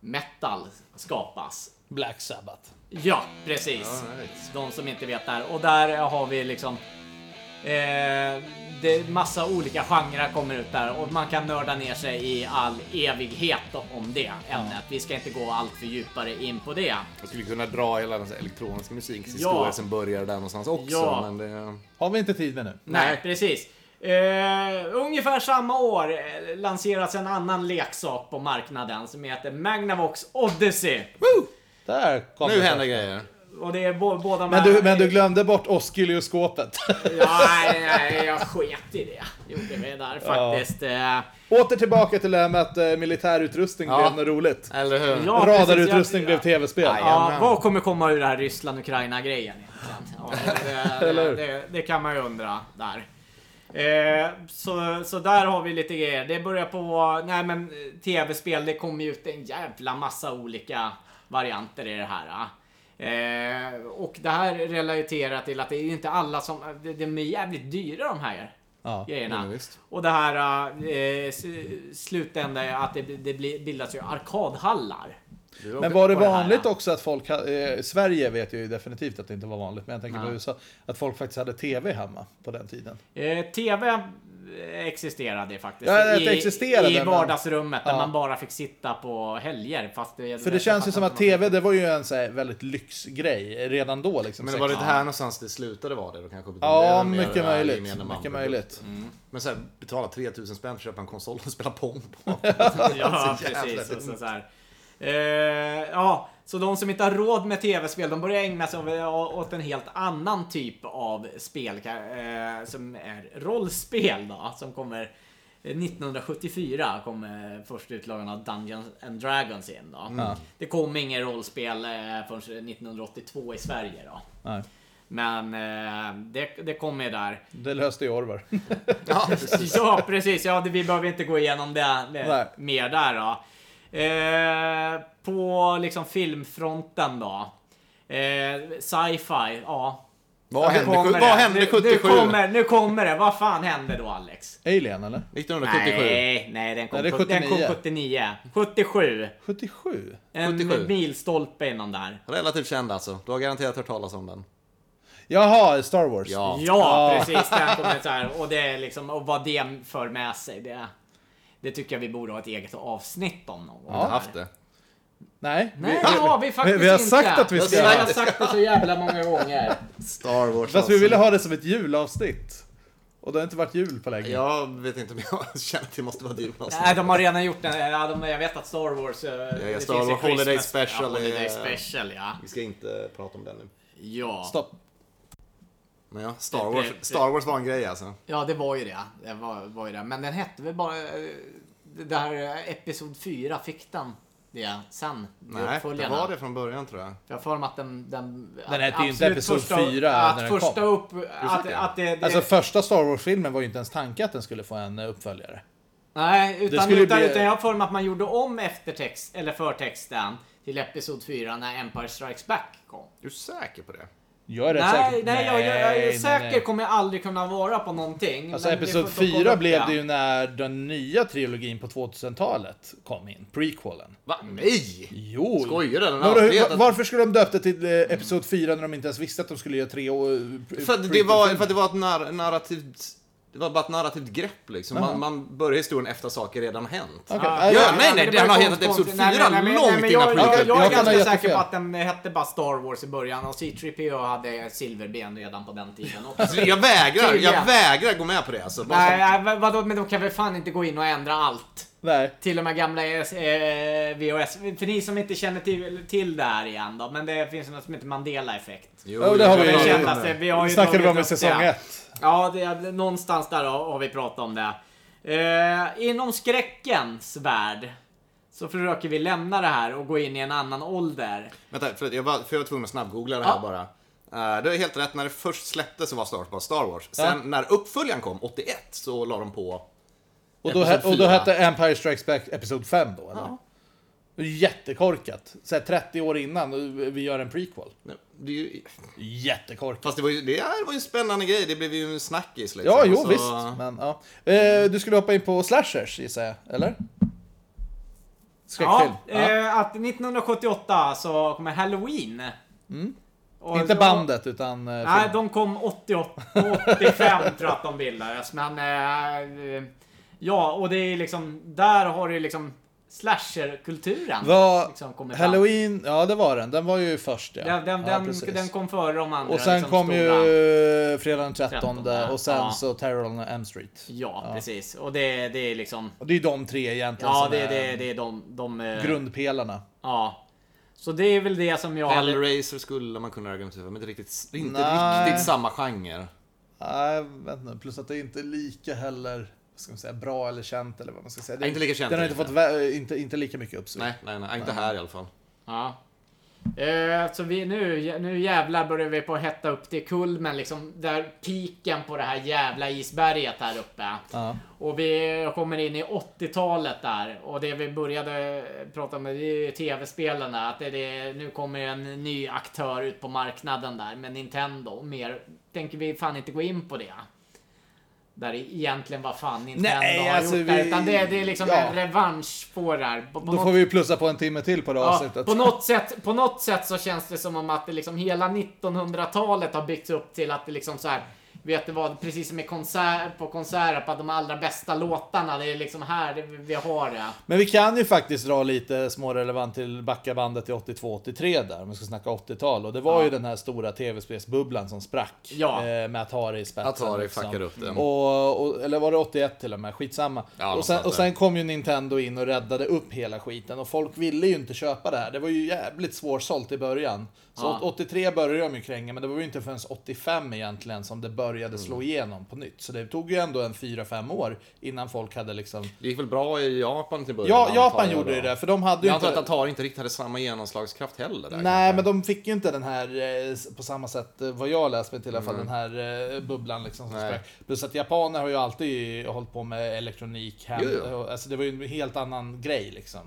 S3: metal skapas.
S2: Black Sabbath.
S3: Ja, precis.
S1: All right.
S3: De som inte vet där. Och där har vi liksom... Eh, det är massa olika genrer kommer ut där och man kan nörda ner sig i all evighet om det ämnet. Vi ska inte gå allt för djupare in på det.
S1: Jag skulle kunna dra hela den här elektroniska musikens historia som börjar där någonstans också,
S3: Ja.
S1: men det...
S2: Har vi inte tid med nu?
S3: Nej, precis. Eh, ungefär samma år eh, lanseras en annan leksak på marknaden som heter Magnavox Odyssey.
S2: Där kom
S1: Nu
S2: det
S1: händer
S2: först.
S1: grejer.
S3: Och det är bo- båda
S2: Men du, men du glömde bort Osculeoskopet.
S3: Ja, nej, nej, jag sket i det. Gjorde vi där faktiskt. Eh,
S2: *laughs* Åter tillbaka till det här med att eh, militärutrustning
S1: Ja.
S2: blev något roligt.
S1: Eller hur?
S3: Ja, precis,
S2: Radarutrustning
S3: jag-
S2: blev tv-spel.
S3: Ja,
S1: Jajamän.
S3: vad kommer komma ur det här Ryssland-Ukraina-grejen egentligen? Ja, det,
S2: Eller
S3: det,
S2: hur?
S3: det, det kan man ju undra där. Eh, så, så där har vi lite grejer. Det börjar på... Nej men eh, tv-spel, det kommer ju ut en jävla massa olika varianter i det här. ah. Eh, och det här relaterar till att det är ju inte alla som... Det, de är jävligt dyra de här
S2: Ja.
S3: grejerna.
S1: ja, visst.
S3: och det här eh, s- slutändan är att det, det blir- bildas ju arkadhallar.
S2: Men var det
S3: på det här,
S2: vanligt
S3: ja.
S2: också att folk, ha- eh, Sverige vet jag ju definitivt att det inte var vanligt, men jag tänker på
S3: Ja.
S2: USA, att folk faktiskt hade tv hemma på den tiden.
S3: Eh, TV existerade faktiskt.
S2: Ja, det
S3: I,
S2: existerade,
S3: I
S2: men-
S3: vardagsrummet där
S2: Ja.
S3: man bara fick sitta på helger. Fast det,
S2: För det känns ju som att tv, det var ju en så här, väldigt lyxgrej redan då liksom.
S1: Men det var det
S2: sex-
S1: inte här någonstans det slutade vara det då kanske? Utan det är
S2: Ja,
S1: den mer
S2: mycket
S1: där
S2: möjligt.
S1: gemene man- Mm.
S2: Mycket möjligt.
S1: Men såhär, betala 3000 spänn för att köpa en konsol och spela Pong på.
S3: *laughs* Ja,
S1: Så jävla
S3: precis. Så, så här. Eh, ja, så de som inte har råd med tv-spel, de börjar ägna sig åt- åt en helt annan typ av spel. eh, som är rollspel då, som kommer... eh, 1974 kom eh, första utlagan av Dungeons and Dragons in då. Det kom inget rollspel eh, förrän 1982 i Sverige då.
S2: Nej,
S3: Men eh, det, det kommer ju där.
S2: det löste ju Orvar.
S3: *laughs*
S1: Ja, precis.
S3: Ja, precis. Ja, det, vi behöver inte gå igenom det,
S2: Nej.
S3: det mer där då. Eh, på liksom filmfronten då. Eh, sci-fi, ja.
S1: Vad
S3: Ja, det
S1: hände,
S3: kommer
S1: vad
S3: det.
S1: hände
S3: Nu, nu,
S1: 77?
S3: kommer, nu kommer det. Vad fan hände då Alex?
S2: *laughs* Alien eller?
S1: 1977.
S3: Nej, nej den kom,
S2: Nej, det är
S3: sjut- den kom
S2: 79.
S3: 79. 77.
S2: 77?
S3: En
S1: 77.
S3: milstolpe innan där.
S1: Relativt känd alltså. Du har garanterat hört talas om den.
S2: Jaha, Star Wars.
S1: Ja.
S3: Ja, precis. Den kommer så här.
S1: *laughs*
S3: Och, det är liksom, och vad det för med sig. Det, det tycker jag vi borde ha ett eget avsnitt om någon gång.
S1: Jag har inte haft det.
S2: Nej.
S3: Nej, det har vi faktiskt
S2: vi har
S3: inte.
S2: sagt att vi
S3: Jag
S2: ska
S3: har
S2: göra
S3: sagt- sagt det så jävla många gånger.
S1: Star Wars.
S2: Fast vi ville ha det som ett julavsnitt. Och det har inte varit jul på länge.
S1: Jag vet inte om jag *laughs* känner att det måste vara du alltså.
S3: Nej, de har redan gjort den. Ja, de, jag vet att Star Wars... eh, det
S1: Star
S3: finns en
S1: Wars Holiday
S3: Christmas-
S1: Special eh,
S3: Ja, Holiday
S1: är-
S3: Special, ja.
S1: Vi ska inte prata om den nu.
S3: Ja.
S2: Stopp.
S1: Men ja, Star Wars,
S3: Det- det-
S1: Star Wars var en grej alltså.
S3: ja, det var ju det. Det var, var ju det. Men den hette väl bara... eh, Det där eh, Episod 4, fick den det sen?
S1: Nej, det
S3: uppföljarna?
S1: var det från början tror jag.
S3: Jag har för mig att den... Den,
S2: Den hette ju inte
S3: absolut
S2: Episod
S3: första-
S2: 4 när
S3: Att
S2: den
S3: första
S2: kom.
S3: upp... Att,
S1: säker?
S3: att det, det,
S2: Alltså första Star Wars-filmen var ju inte ens tanken att den skulle få en eh, uppföljare.
S3: Nej, utan,
S2: skulle
S3: utan,
S2: bli-
S3: utan jag har för mig att man gjorde om eftertext, eller förtexten till Episod 4 när Empire Strikes Back kom.
S1: Du är säker på det?
S2: Jag är rätt
S3: Nej,
S2: säker.
S3: nej, jag, jag, jag är
S2: nej,
S3: säker
S2: nej.
S3: kommer jag aldrig kunna vara på någonting.
S2: Alltså
S3: men det
S2: Episod
S3: får- får kolla
S2: 4
S3: upp
S2: blev det ju när den nya trilogin på 2000-talet kom in. Prequelen.
S1: Va? Nej!
S2: Jo!
S1: Skojar du? Den har
S2: Vadå,
S1: alltid
S2: hur-
S1: hetat-
S2: Varför skulle de döpa det till eh, Episod 4 när de inte ens visste att de skulle göra tre år? eh,
S1: För att det var, för att det var ett nar- narrativt... Det var bara ett narrativt grepp liksom. Man, man börjar historien efter saker redan hänt.
S2: Okej.
S3: Ja,
S2: Ja,
S1: ja, nej, nej,
S3: det
S1: den har
S3: var
S1: hetat
S3: konstigt.
S1: Episod
S3: Nej,
S1: 4
S3: nej, nej,
S1: långt
S3: nej,
S1: innan
S3: men jag- jag-
S1: Prequel.
S3: Jag
S2: Jag
S3: är
S2: kan ha
S3: ganska säker
S2: jättefel.
S3: på att den hette bara Star Wars i början och C3PO hade silverben redan på den
S2: *laughs*
S3: tiden också.
S1: Alltså, Jag vägrar, jag
S3: Tydligen.
S1: vägrar gå med på det alltså. Bara
S3: nej,
S1: så-
S3: nej, vad- vadå, men de kan väl fan inte gå in och ändra allt.
S2: Nej.
S3: Till och med gamla E eh, VHS. För ni som inte känner till, till det här igen då. Men det finns något som heter Mandela-effekt.
S1: Jo,
S2: Ja, det har
S1: jag-
S2: vi
S3: Det
S1: jag-
S2: ju.
S1: jag-
S3: kändaste. Vi har ju
S2: snackade vi
S3: tagit
S2: om i
S3: upp
S2: säsong
S3: det.
S2: 1.
S3: Ja, det, någonstans där har, har vi pratat om det. Eh, inom skräckens värld så försöker vi lämna det här och gå in i en annan ålder.
S1: Vänta, förlåt, jag var, för jag var tvungen att snabbgoogla det här
S3: Ja.
S1: bara. Eh, det är helt rätt, när det först släpptes så var Star Wars bara Star Wars. Sen när uppföljaren kom, 81, så la de på...
S2: Och då, he-
S1: Episod
S2: och då
S1: fyra.
S2: hette Empire Strikes Back Episod 5 då, eller? Det är Jättekorkat. Så här 30 år innan och vi gör en prequel.
S1: Nej, Det är ju,
S2: Jättekorkat.
S1: fast det var ju, det här var ju en spännande grej, det blev ju en snackis liksom.
S2: Ja, jo
S1: Så-
S2: visst. Men, ja. eh, du skulle hoppa in på slashers gissar jag, eller? Skräckfilm. Ja,
S3: eh, att 1978 så kommer Halloween. Och
S2: Mm. Inte
S3: då-
S2: bandet, utan... Eh,
S3: Nej,
S2: film.
S3: de kom 88, 85
S2: *laughs*
S3: tror jag att de bildades. Men eh, ja, och det är liksom, där har du liksom slasherkulturen.
S2: Var
S3: liksom kommer fram.
S2: Halloween, ja det var den. Den var ju först ja.
S3: Den, den,
S2: ja,
S3: den,
S2: precis.
S3: den kom före de andra.
S2: och sen
S3: liksom,
S2: kom
S3: stora.
S2: ju fredag den 13
S3: 13,
S2: och sen
S3: ja.
S2: så Terror on M Street.
S3: Ja,
S2: Ja.
S3: precis. Och det, det är liksom...
S2: Och det är ju de tre egentligen
S3: Ja,
S2: som
S3: det,
S2: är
S3: det, det är de... de eh,
S2: grundpelarna.
S3: Ja. Så det är väl det som jag... hade-
S1: Hellraiser skulle man kunna argumentera för, men inte riktigt, inte
S2: Nej.
S1: riktigt samma genre.
S2: Nej, vänta nu. Plus att det inte är lika heller, vad ska man säga, bra eller känt eller vad man ska säga. Det,
S1: Nej, inte lika känt
S2: Den har
S1: är
S2: inte
S1: det.
S2: fått, vä- inte, inte lika mycket uppsving.
S1: Nej, nej, nej. Inte här i alla fall.
S3: Ja. Eh, så vi, nu, nu jävlar börjar vi på att hetta upp till kulmen liksom. Där piken på det här jävla isberget här uppe.
S2: Ja.
S3: Och vi kommer in i 80-talet där. Och det vi började prata om, det är ju tv-spelen där. Att det, det, nu kommer en ny aktör ut på marknaden där med Nintendo. Mer tänker vi fan inte gå in på det. Där egentligen vad fan Nintendo
S2: Nej,
S3: har
S2: alltså
S3: gjort där.
S2: vi-
S3: Utan det, det är liksom
S2: ja.
S3: en revansch på det här. På, på
S2: Då
S3: något
S2: får vi ju plussa på en timme till på det
S3: Ja,
S2: avsnittet.
S3: på, något sätt, på något sätt så känns det som om att det liksom hela 1900-talet har byggts upp till att det liksom så här Vet du vad, precis som i konsert, på konserter, på att de allra bästa låtarna, det är liksom här det- vi har det.
S2: Men vi kan ju faktiskt dra lite smårelevant till backabandet till 82-83 där, om vi ska snacka 80-tal. Och det var
S3: Ja.
S2: ju den här stora tv-spelsbubblan som sprack
S3: Ja.
S2: eh, med Atari i spetsen. liksom.
S1: Atari fuckade upp det.
S2: Och, och, eller var det 81 till och med? Skitsamma.
S1: Ja,
S2: och, sen,
S1: någonstans
S2: och sen kom ju Nintendo in och räddade upp hela skiten. Och folk ville ju inte köpa det här. Det var ju jävligt svårsålt i början. Så
S3: Ja.
S2: 83 började de ju kränga, men det var ju inte förrän 85 egentligen som det började
S1: Mm.
S2: slå igenom på nytt. Så det tog ju ändå en 4-5 år innan folk hade liksom
S1: Det gick väl bra i Japan till början?
S2: Ja,
S1: antar
S2: Japan
S1: jag
S2: gjorde
S1: då.
S2: ju det, för de hade ju
S1: Jag
S2: inte...
S1: antar att Atari inte riktigt hade samma genomslagskraft heller. Där,
S2: Nej,
S1: kanske.
S2: men de fick ju inte den här, eh, s- på samma sätt, eh, vad jag läst mig till i alla fall, den här eh, bubblan liksom som
S1: Mm. Nej.
S2: sprack. Plus att japaner har ju alltid hållit på med elektronik, hem,
S1: Jo, jo. Mm.
S2: och- alltså det var ju en helt annan grej liksom.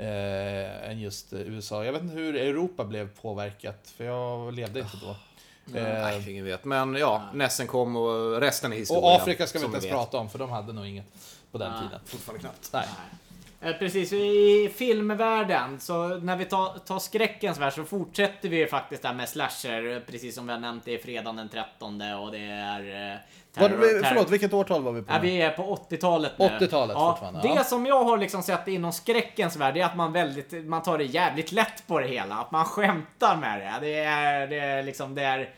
S2: Eh, än just eh, USA. Jag vet inte hur Europa blev påverkat, för jag levde inte då. Eh,
S1: Ah. Mm, Nej, ingen vet. Men ja, Nessen kom och resten är historia.
S2: och Afrika ska vi
S1: som
S2: inte ens
S1: vet. Ah,
S2: prata om, för de hade nog inget på den
S3: Nej.
S2: tiden.
S1: Fortfarande knappt.
S2: Nej.
S3: Eh, Precis, i filmvärlden, så när vi tar, tar skräckens värld så fortsätter vi ju faktiskt där med slasher, eh, precis som vi har nämnt, det är fredagen den 13 och det är... eh,
S2: Var,
S3: terror-
S2: vi-
S3: terror-
S2: förlåt, vilket årtal var vi på?
S3: Ja,
S2: nu?
S3: vi är på 80-talet nu.
S2: 80-talet
S3: ja,
S2: fortfarande,
S3: Det
S2: ja.
S3: som jag har liksom sett inom skräckens värld det är att man, väldigt, man tar det jävligt lätt på det hela. Att man skämtar med det. Det är, det är liksom, det är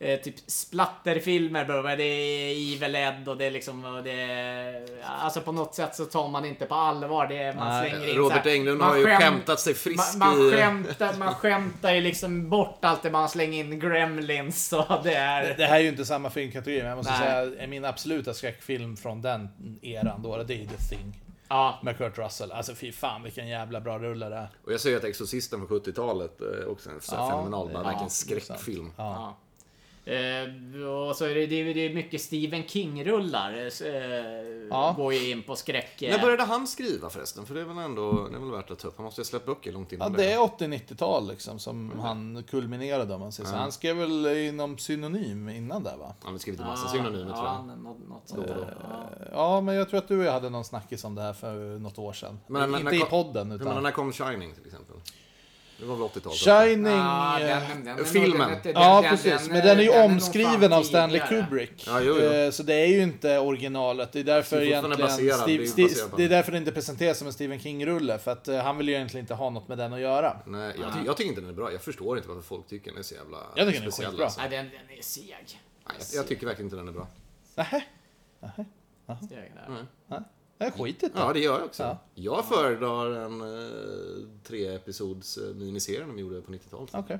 S3: eh, typ splatterfilmer, bro. det är Evil Ed och det är liksom, och det är, Alltså på något sätt så tar man inte på allvar. Det är, man
S2: Nej,
S3: slänger in
S1: Robert
S3: så här-
S1: Englund
S3: man
S1: har ju
S3: skämt-
S1: skämtat sig frisk
S3: man, man,
S1: i-
S3: skämtar, man skämtar ju liksom bort allt det man slänger in Gremlins och det är...
S2: Det här är ju inte samma filmkategori, men jag måste
S3: Nej.
S2: säga min absoluta skräckfilm från den eran då, det är ju The Thing.
S3: Ja,
S2: Med Kurt Russell. Alltså fy fan vilken jävla bra rulle det är.
S1: Och jag säger att Exorcisten från 70-talet eh, också är en
S2: Ja,
S1: ja, fenomenal,
S2: ja,
S1: ja, verkligen
S2: det är sant.
S1: skräckfilm.
S2: Ja.
S3: Eh, och så är det, det, är- det är mycket Stephen King-rullar. Eh,
S2: Ja.
S3: Går ju in på skräck. eh.
S1: När började han skriva förresten? För det är väl ändå det är väl värt att ta upp. Han måste ju ha släppt böcker långt
S2: Ja,
S1: innan
S2: det är 80-90-tal liksom som
S1: Mm.
S2: han kulminerade om man säger så. Han skrev väl inom synonym innan där va?
S1: Han har skrivit en
S3: Ja,
S1: massa synonymer tror
S3: ja,
S1: jag.
S3: något, något sånt där. Ja.
S2: Ja, men jag tror att du och jag hade någon snackis om det här för något år sedan.
S1: Men- men-
S2: inte
S1: när
S2: i
S1: kom-
S2: podden
S1: Jag menar,
S2: utan...
S1: när kom Shining till exempel? Det var väl 80-talet?
S2: Shining...
S3: Ja,
S2: eh,
S3: Ah, den- den- den-
S1: filmen.
S3: den- den-
S2: Ja,
S3: den-
S2: precis.
S3: den-
S2: men den är ju
S3: nog
S2: omskriven
S3: fan
S2: av Stanley
S3: tidigare.
S2: Kubrick.
S1: Ja, jo, jo.
S2: Eh, Så det är ju inte originalet. Det är därför
S1: Det är
S2: egentligen...
S1: fortfarande baserad,
S2: Steve-
S1: det är ju
S2: Steve-
S1: baserat på
S2: det är
S1: den.
S2: därför det inte presenteras som en Stephen King-rulle. För att eh, han vill ju egentligen inte ha något med den att göra.
S1: Nej, jag, ty- jag tycker inte den är bra. Jag förstår inte varför folk tycker den är så jävla
S2: Jag tycker den är skitbra.
S1: alltså.
S3: Nej, den, den är seg.
S1: Nej, jag- jag tycker verkligen inte den är bra.
S2: Nähä?
S3: Seg där.
S2: Nej, Det är skitigt
S1: Ja, det gör jag också.
S2: Ja.
S1: Jag föredrar en eh, tre-episods eh, miniserie de gjorde på 90-talet.
S2: Okej.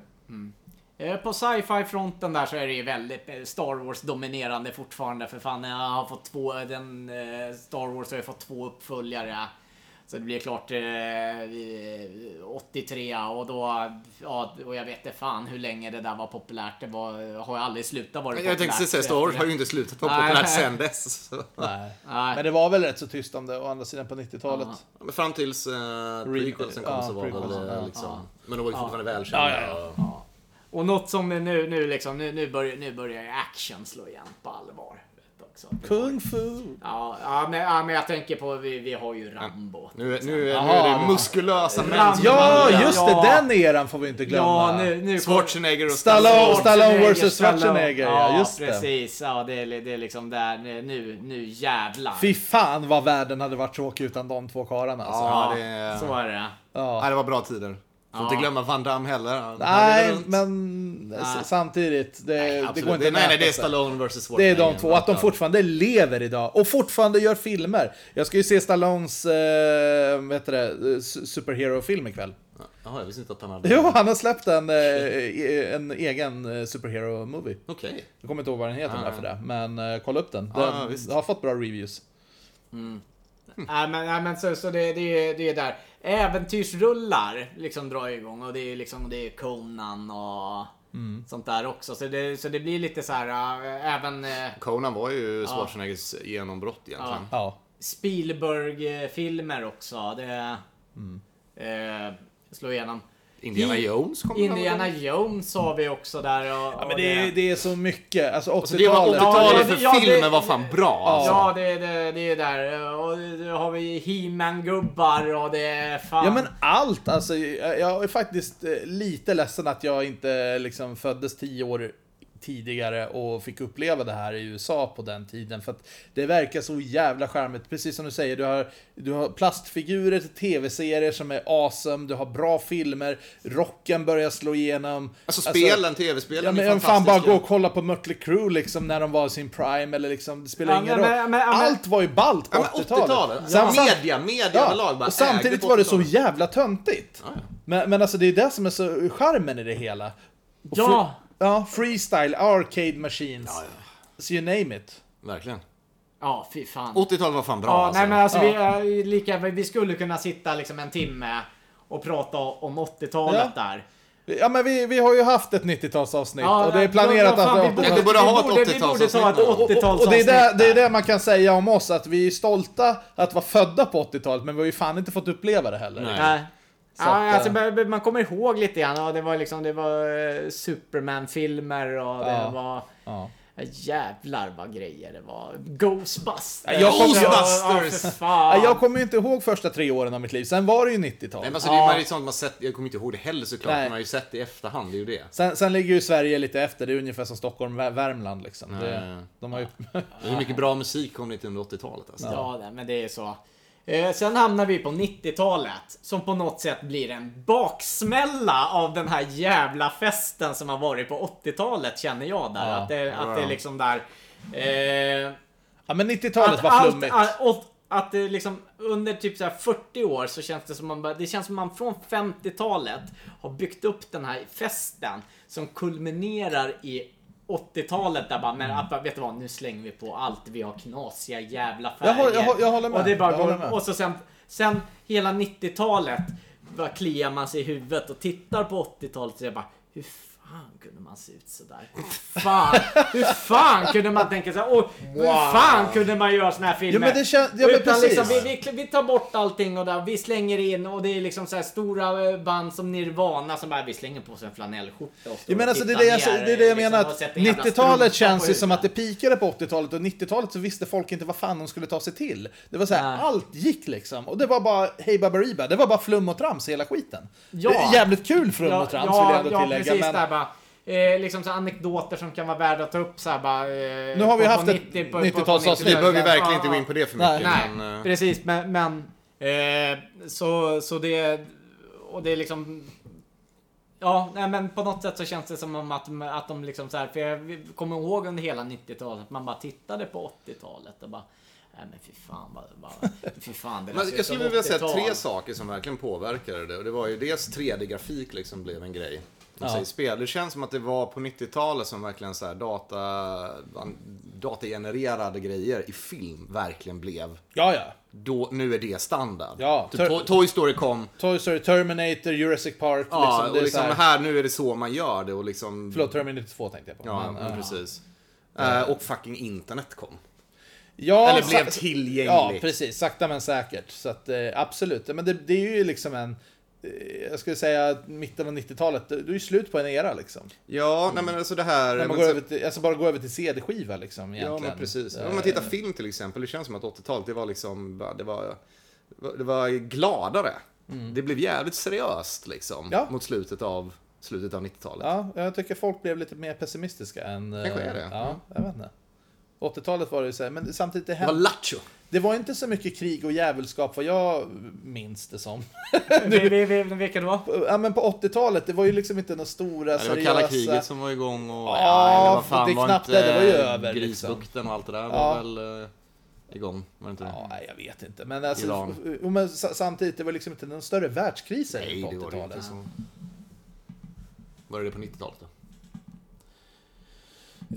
S3: Eh, På sci-fi-fronten där så är det ju väldigt eh, Star Wars-dominerande fortfarande. För fan, jag har fått två, den, eh, Star Wars har ju fått två uppföljare. Så det blir klart eh, 83 och då, ja, och jag vet inte fan hur länge det där var populärt. Det var, har ju aldrig slutat vara populärt.
S1: Jag tänkte säga Star Wars har ju inte slutat vara
S3: Nej.
S1: populärt sen dess. så.
S2: Nej.
S3: Nej.
S2: Men det var väl rätt så tyst om det å andra sidan på 90-talet.
S1: Men fram tills uh, prequelsen kom
S2: ja,
S1: så var det
S2: prequelsen, ja.
S1: väl eh, liksom... Men de var ju fortfarande välkända.
S2: Ja, ja,
S1: och-
S3: Och något som nu, nu liksom, nu, nu börjar, nu börjar ju action slå igen på allvar. vet du också. också.
S2: Kung fu.
S3: Ja, ja, men, ja, men jag tänker på, vi, vi har ju Rambo.
S1: Nu, är- nu, är- nu
S2: Jaha.
S1: är det muskulösa män.
S3: Rambo.
S2: Ja, just
S3: Ja.
S2: det. Den eran får vi inte glömma.
S3: Ja, nu, nu
S1: Schwarzenegger och
S2: Stallone, Stallone vs
S3: Alltså, Stallone.
S2: Schwarzenegger. Ja, just det.
S3: precis. Ja, det, är- det är liksom där. Nu, nu jävlar.
S2: Fy fan vad världen hade varit tråkig utan de två karlarna. Alltså.
S1: Ja,
S3: ja,
S1: det, är-
S3: så är det.
S2: Ja.
S1: Nej, det var bra tider. Får inte
S3: Ja.
S1: glömma Van Damme heller.
S2: Nej, men s-
S3: Nej.
S2: samtidigt. Det, det
S1: Absolut.
S2: går inte
S1: nej, nej,
S2: att
S1: det är
S2: mäta sig.
S1: Stallone vs.
S2: Det är
S1: Schwarzenegger.
S2: de två. Att de fortfarande lever idag och fortfarande gör filmer. Jag ska ju se Stallones eh, vad heter det, eh, su- superhero-film ikväll. *laughs*
S1: Jaha, jag visste inte att han hade...
S2: Jo, han har släppt en, eh, e- en egen eh, superhero-movie.
S1: Okej.
S2: Jag kommer inte ihåg vad den heter
S1: Ah,
S2: bara för det, men eh, kolla upp den. Den
S1: Ah, visst.
S2: har fått bra reviews.
S3: *laughs* Nej men, nej, men så, så det, det, är- det är där. Äventyrsrullar liksom drar ju igång och det är liksom det är Conan och
S2: Mm.
S3: sånt där också. Så det, så det blir lite så här äh, även äh,
S1: Conan var ju Schwarzeneggers genombrott egentligen.
S2: Ja.
S3: Spielberg-filmer också. Det
S2: Mm.
S3: eh, slår igenom.
S1: Indiana
S3: I-
S1: Jones kom
S3: Indiana Jones har vi också där. Och,
S2: Ja,
S3: och
S2: men det, är, det är så mycket. Alltså 80-talet.
S1: Så det var 80-talet för
S3: Ja, det- ja, det-
S1: filmen var fan bra alltså.
S3: Ja, det, det, det är där. Och då har vi He-Man-gubbar och det är fan...
S2: Ja men allt alltså. Jag jag är faktiskt eh, lite ledsen att jag inte liksom föddes tio år tidigare och fick uppleva det här i USA på den tiden. För att det verkar så jävla charmigt. Precis som du säger, du har, du har plastfigurer till tv-serier som är awesome, du har bra filmer, rocken börjar slå igenom.
S1: Alltså spelen, tv-spelen
S2: Ja, men
S1: är
S2: jag fan bara gå
S1: fantastiska.
S2: och kolla på Mötley Crüe liksom när de var i sin prime eller liksom, det spelar
S3: Ja,
S2: ingen
S3: men-
S2: roll.
S3: men- men- men-
S2: Allt var ju ballt på
S1: Ja, men
S2: 80-talet.
S1: 80-talet.
S2: Sam- sam-
S1: media, media överlag bara
S2: och samtidigt
S1: ägde
S2: var det så
S1: 80-talet.
S2: jävla töntigt. Men, men alltså det är det som är så charmen i det hela. Och
S3: Ja.
S2: fre- ja! Freestyle, arcade machines. So you name it.
S1: Verkligen.
S3: Ja, fy fan.
S1: 80-talet var fan bra
S3: Ja,
S1: alltså.
S3: nej, men alltså,
S2: Ja.
S3: vi, är ju lika, vi skulle kunna sitta liksom en timme och prata om 80-talet
S2: Ja.
S3: där.
S2: Ja men vi, vi har ju haft ett 90-talsavsnitt
S3: Ja,
S2: och det är
S3: då-
S2: planerat
S3: då- fan,
S2: att...
S1: vi borde- ha ett
S3: Vi borde ta
S1: 80-talsavsnitt
S3: ett
S1: då.
S2: Och, och, och det, är
S3: 80-talsavsnitt.
S2: det, det är
S3: där.
S2: det man kan säga om oss, att vi är stolta att vara födda på 80-talet, men vi har ju fan inte fått uppleva det heller.
S1: Nej.
S3: Nej.
S2: Så
S3: Ja,
S2: att,
S3: alltså,
S2: eh,
S3: man- man kommer ihåg lite grann. Ja, det var liksom, det var eh, Superman-filmer och det
S2: Ja.
S3: var...
S2: Ja.
S3: Jävlar vad grejer det var. Ghostbusters.
S2: Jag kommer-
S1: Ghostbusters!
S3: Ja, för
S2: Nej,
S3: fan.
S2: Jag kommer ju inte ihåg första tre åren av mitt liv, sen var det ju 90-tal.
S1: Nej, men alltså, det är
S3: Ja.
S1: ju man är ju sånt man sett, jag kommer inte ihåg det heller såklart,
S2: Nej.
S1: men man har ju sett det i efterhand, det är ju det.
S2: Sen, sen ligger ju Sverige lite efter, det är ungefär som Stockholm, Vär- Värmland liksom. Det,
S1: Nej.
S2: de har ju...
S1: Men Hur mycket bra musik kom det inte under 80-talet alltså?
S3: Ja, nej, men det är så. Eh, sen hamnar vi på 90-talet som på något sätt blir en baksmälla av den här jävla festen som har varit på 80-talet känner jag där.
S2: Ja.
S3: Att, det, att det är liksom där... Eh,
S2: Ja men 90-talet
S3: att,
S2: var flummigt.
S3: att, att, att det liksom under typ så här 40 år så känns det som man bara- Det känns som man från 50-talet har byggt upp den här festen som kulminerar i 80-talet där bara, men
S2: Mm.
S3: att, bara, vet du vad, nu slänger vi på allt. Vi har knasiga jävla
S2: Jag
S3: färger.
S2: hå- jag hå- jag håller med.
S3: Och, det bara
S2: Jag
S3: går,
S2: håller med.
S3: och så sen, sen hela 90-talet bara kliar man sig i huvudet och tittar på 80-talet och jag bara, hur fan kunde man se ut sådär? Hur fan, hur fan kunde man tänka såhär? Och hur fan kunde man göra såna här filmer?
S2: Ja, men det kän- ja, men
S3: Utan
S2: precis.
S3: liksom, vi, vi, vi tar bort allting och där, vi slänger in och det är liksom så här stora eh, band som Nirvana som bara, vi slänger på oss en flanellskjorta och står
S2: Jag menar,
S3: och
S2: alltså, det, är
S3: tittar
S2: det, jag,
S3: ner,
S2: det är det jag
S3: liksom,
S2: menar
S3: och
S2: att
S3: sätter en jävla
S2: 90-talet
S3: strumpa
S2: känns
S3: på
S2: ju som
S3: huvudet.
S2: att det pikade på 80-talet och 90-talet så visste folk inte vad fan de skulle ta sig till. Det var så här,
S3: Nej.
S2: allt gick liksom. Och det var bara hej baberiba, det var bara flum och trams hela skiten.
S3: Ja.
S2: Det är jävligt kul flum och trams vill jag ändå tillägga.
S3: precis.
S2: men...
S3: Där, bara, eh, liksom så här anekdoter som kan vara värda att ta upp. Så här, bara, eh,
S2: Nu har vi
S3: på- på
S2: haft ett
S3: 90 på- på-
S2: 90-talsavsnitt.
S1: Vi
S2: Vi
S1: behöver ju verkligen
S3: Ja,
S1: inte gå in på det för
S2: Nej.
S1: mycket.
S3: Nej,
S1: men, eh,
S3: precis. Men, men eh, så, så det... Och det är liksom... Ja, nej, men på något sätt så känns det som om att, att de liksom så här, för jag kommer ihåg under hela 90-talet att man bara tittade på 80-talet och bara, nej men fy fan vad, vad fy fan det där ser
S1: Men
S3: ut
S1: jag
S3: som
S1: skulle vilja säga
S2: Alltså,
S3: 80-tal.
S1: tre saker som verkligen påverkade det. Och det var ju dels 3D-grafik liksom blev en grej. Om man säger spel. Det känns som att det var på 90-talet som verkligen så här data, datagenererade grejer i film verkligen blev.
S2: Ja, ja.
S1: Då, nu är det standard.
S2: Ja,
S1: typ,
S2: ter-
S1: Toy- Toy Story kom.
S2: Toy Story, Terminator, Jurassic Park.
S1: Ja,
S2: liksom, det är
S1: och liksom
S2: så
S1: här...
S2: här,
S1: nu är det så man gör det och liksom...
S2: Förlåt, Terminator 2 tänkte jag på.
S1: Ja,
S2: men,
S1: men
S2: ja.
S1: precis. Eh, och fucking internet kom.
S2: Ja,
S1: Eller blev
S2: sa-
S1: tillgängligt.
S2: Ja, precis. Sakta men säkert. Så att, eh, absolut. Men det, det är ju liksom en... eh, jag skulle säga mitten av 90-talet, då är det ju slut på en era liksom.
S1: Ja, nej men alltså det här...
S2: När
S1: men
S2: man går
S1: så-
S2: över till, alltså bara gå över till CD-skiva liksom
S1: Ja,
S2: egentligen.
S1: men precis.
S2: Eh,
S1: Om man tittar film till exempel, det känns som att 80-talet, det var liksom, bara- det var, det var gladare. Det blev jävligt seriöst liksom,
S2: Mm. Ja.
S1: mot slutet av, slutet av 90-talet.
S2: Ja, jag tycker folk blev lite mer pessimistiska än... eh,
S1: Kanske är det.
S2: Ja, jag vet inte. 80-talet var det ju så här, men samtidigt det
S1: Det var
S2: hände...
S1: lattjo!
S2: Det var inte så mycket krig och djävulskap vad jag minns det som.
S3: Vi- vi- vi- Vilka
S1: *laughs*
S3: det var?
S2: Ja, men på 80-talet, det var ju liksom inte några stora,
S1: Det var
S2: seriösa...
S1: kalla kriget som var igång och...
S2: Ja,
S1: eller vad
S2: för
S1: fan
S2: det är
S1: var
S2: knappt
S1: inte
S2: det, det var ju över, liksom.
S1: Grisbukten och allt det där
S2: Ja.
S1: var väl eh, igång, var det inte det?
S2: Ja, nej, jag vet inte. Men, alltså,
S1: Iran.
S2: jo, men sa- samtidigt, det var liksom inte någon större världskris
S1: Nej,
S2: på
S1: det var det
S2: 80-talet.
S1: inte. Så. Var det det på 90-talet då?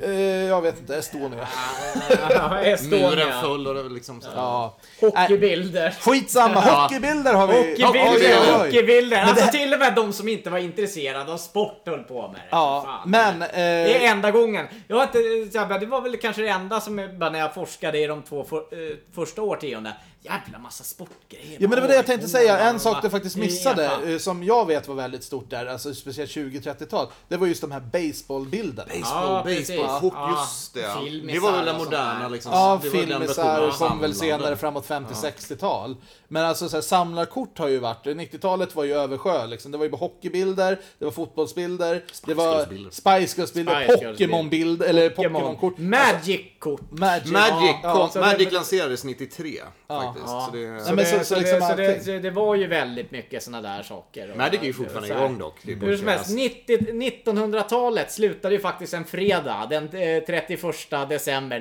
S2: Eh, jag vet inte, Estonia.
S1: Muren
S3: Estonia.
S1: föll och det var liksom så här.
S2: Ja.
S3: Hockeybilder.
S2: Skitsamma, hockeybilder har vi!
S3: Hockeybilder,
S2: Oj, oj, oj.
S3: hockeybilder! Alltså
S2: här-
S3: till och med de som inte var intresserade av sport höll på med det.
S2: Ja,
S3: Fan.
S2: men...
S3: Det
S2: Eh,
S3: är enda gången. Jag har inte, så här, det var väl kanske det enda som jag, bara när jag forskade i de två för, eh, första årtiondena. Jävla massa sportgrejer.
S2: Ja men det var det jag tänkte säga, en sak du faktiskt
S3: Ja,
S2: missade,
S3: fan.
S2: eh, som jag vet var väldigt stort där, alltså speciellt 20-30-tal, det var just de här baseballbilderna.
S1: Baseball,
S3: precis.
S1: baseball, hopp,
S3: Ja,
S1: just det.
S3: filmisar
S1: Det var väl den
S3: och sånt där.
S1: moderna liksom.
S2: Ja,
S1: det var den versionen
S2: filmisar
S1: av
S2: kom väl
S1: samlande.
S2: senare framåt 50-60-tal. Men alltså så här, samlarkort har ju varit, 90-talet var ju översjö liksom. Det var ju bara hockeybilder, det var fotbollsbilder, det var
S1: Girls-bilder.
S2: Spice Girls-bilder,
S3: Spice Girls-bilder.
S2: Pokémon-bilder, eller
S3: Pokémon.
S2: Pokémon-kort.
S3: Magic-kort.
S2: Magic.
S1: Magic,
S2: Ja,
S1: kom,
S2: så det-
S1: Magic lanserades 93 faktiskt.
S3: Ja.
S1: Så det,
S2: Ja, men så-
S3: det,
S2: så
S3: så,
S2: liksom
S3: det, så, det,
S2: allting.
S3: så det var ju väldigt mycket såna där saker. Och-
S1: Magic är ju fortfarande
S3: så här.
S1: igång dock. Det är
S3: Hur som helst,
S1: bara-
S3: 90, 1900-talet slutade ju faktiskt en fredag den eh, 31 december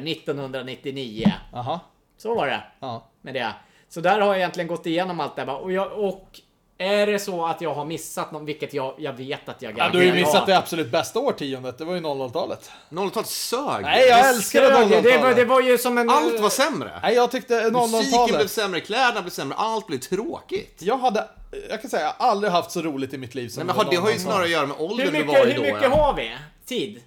S3: 1999.
S2: Aha,
S3: Så var det
S2: ja.
S3: med det. Så där har jag egentligen gått igenom allt det här. bara. Och, jag, och är det så att jag har missat någon, vilket jag, jag vet att jag
S2: ja du har ju
S3: har.
S2: missat det absolut bästa årtiondet, det var ju 00-talet.
S1: 00-talet sög.
S2: Nej, jag älskade
S3: Stöd, det, det, var, det
S2: 00-talet!
S3: var ju som en...
S1: Allt var sämre.
S2: Nej, jag tyckte
S1: Musiken blev
S2: 00-talet.
S1: sämre, kläderna blev sämre, allt blev tråkigt.
S2: Jag hade, jag kan säga, jag har aldrig haft så roligt i mitt liv som
S1: Nej, men har- det har ju
S2: 00-talet.
S1: snarare att göra med åldern
S3: hur
S1: du var
S3: mycket,
S1: i
S3: hur
S1: då.
S3: mycket
S1: ja.
S3: har vi? Tid?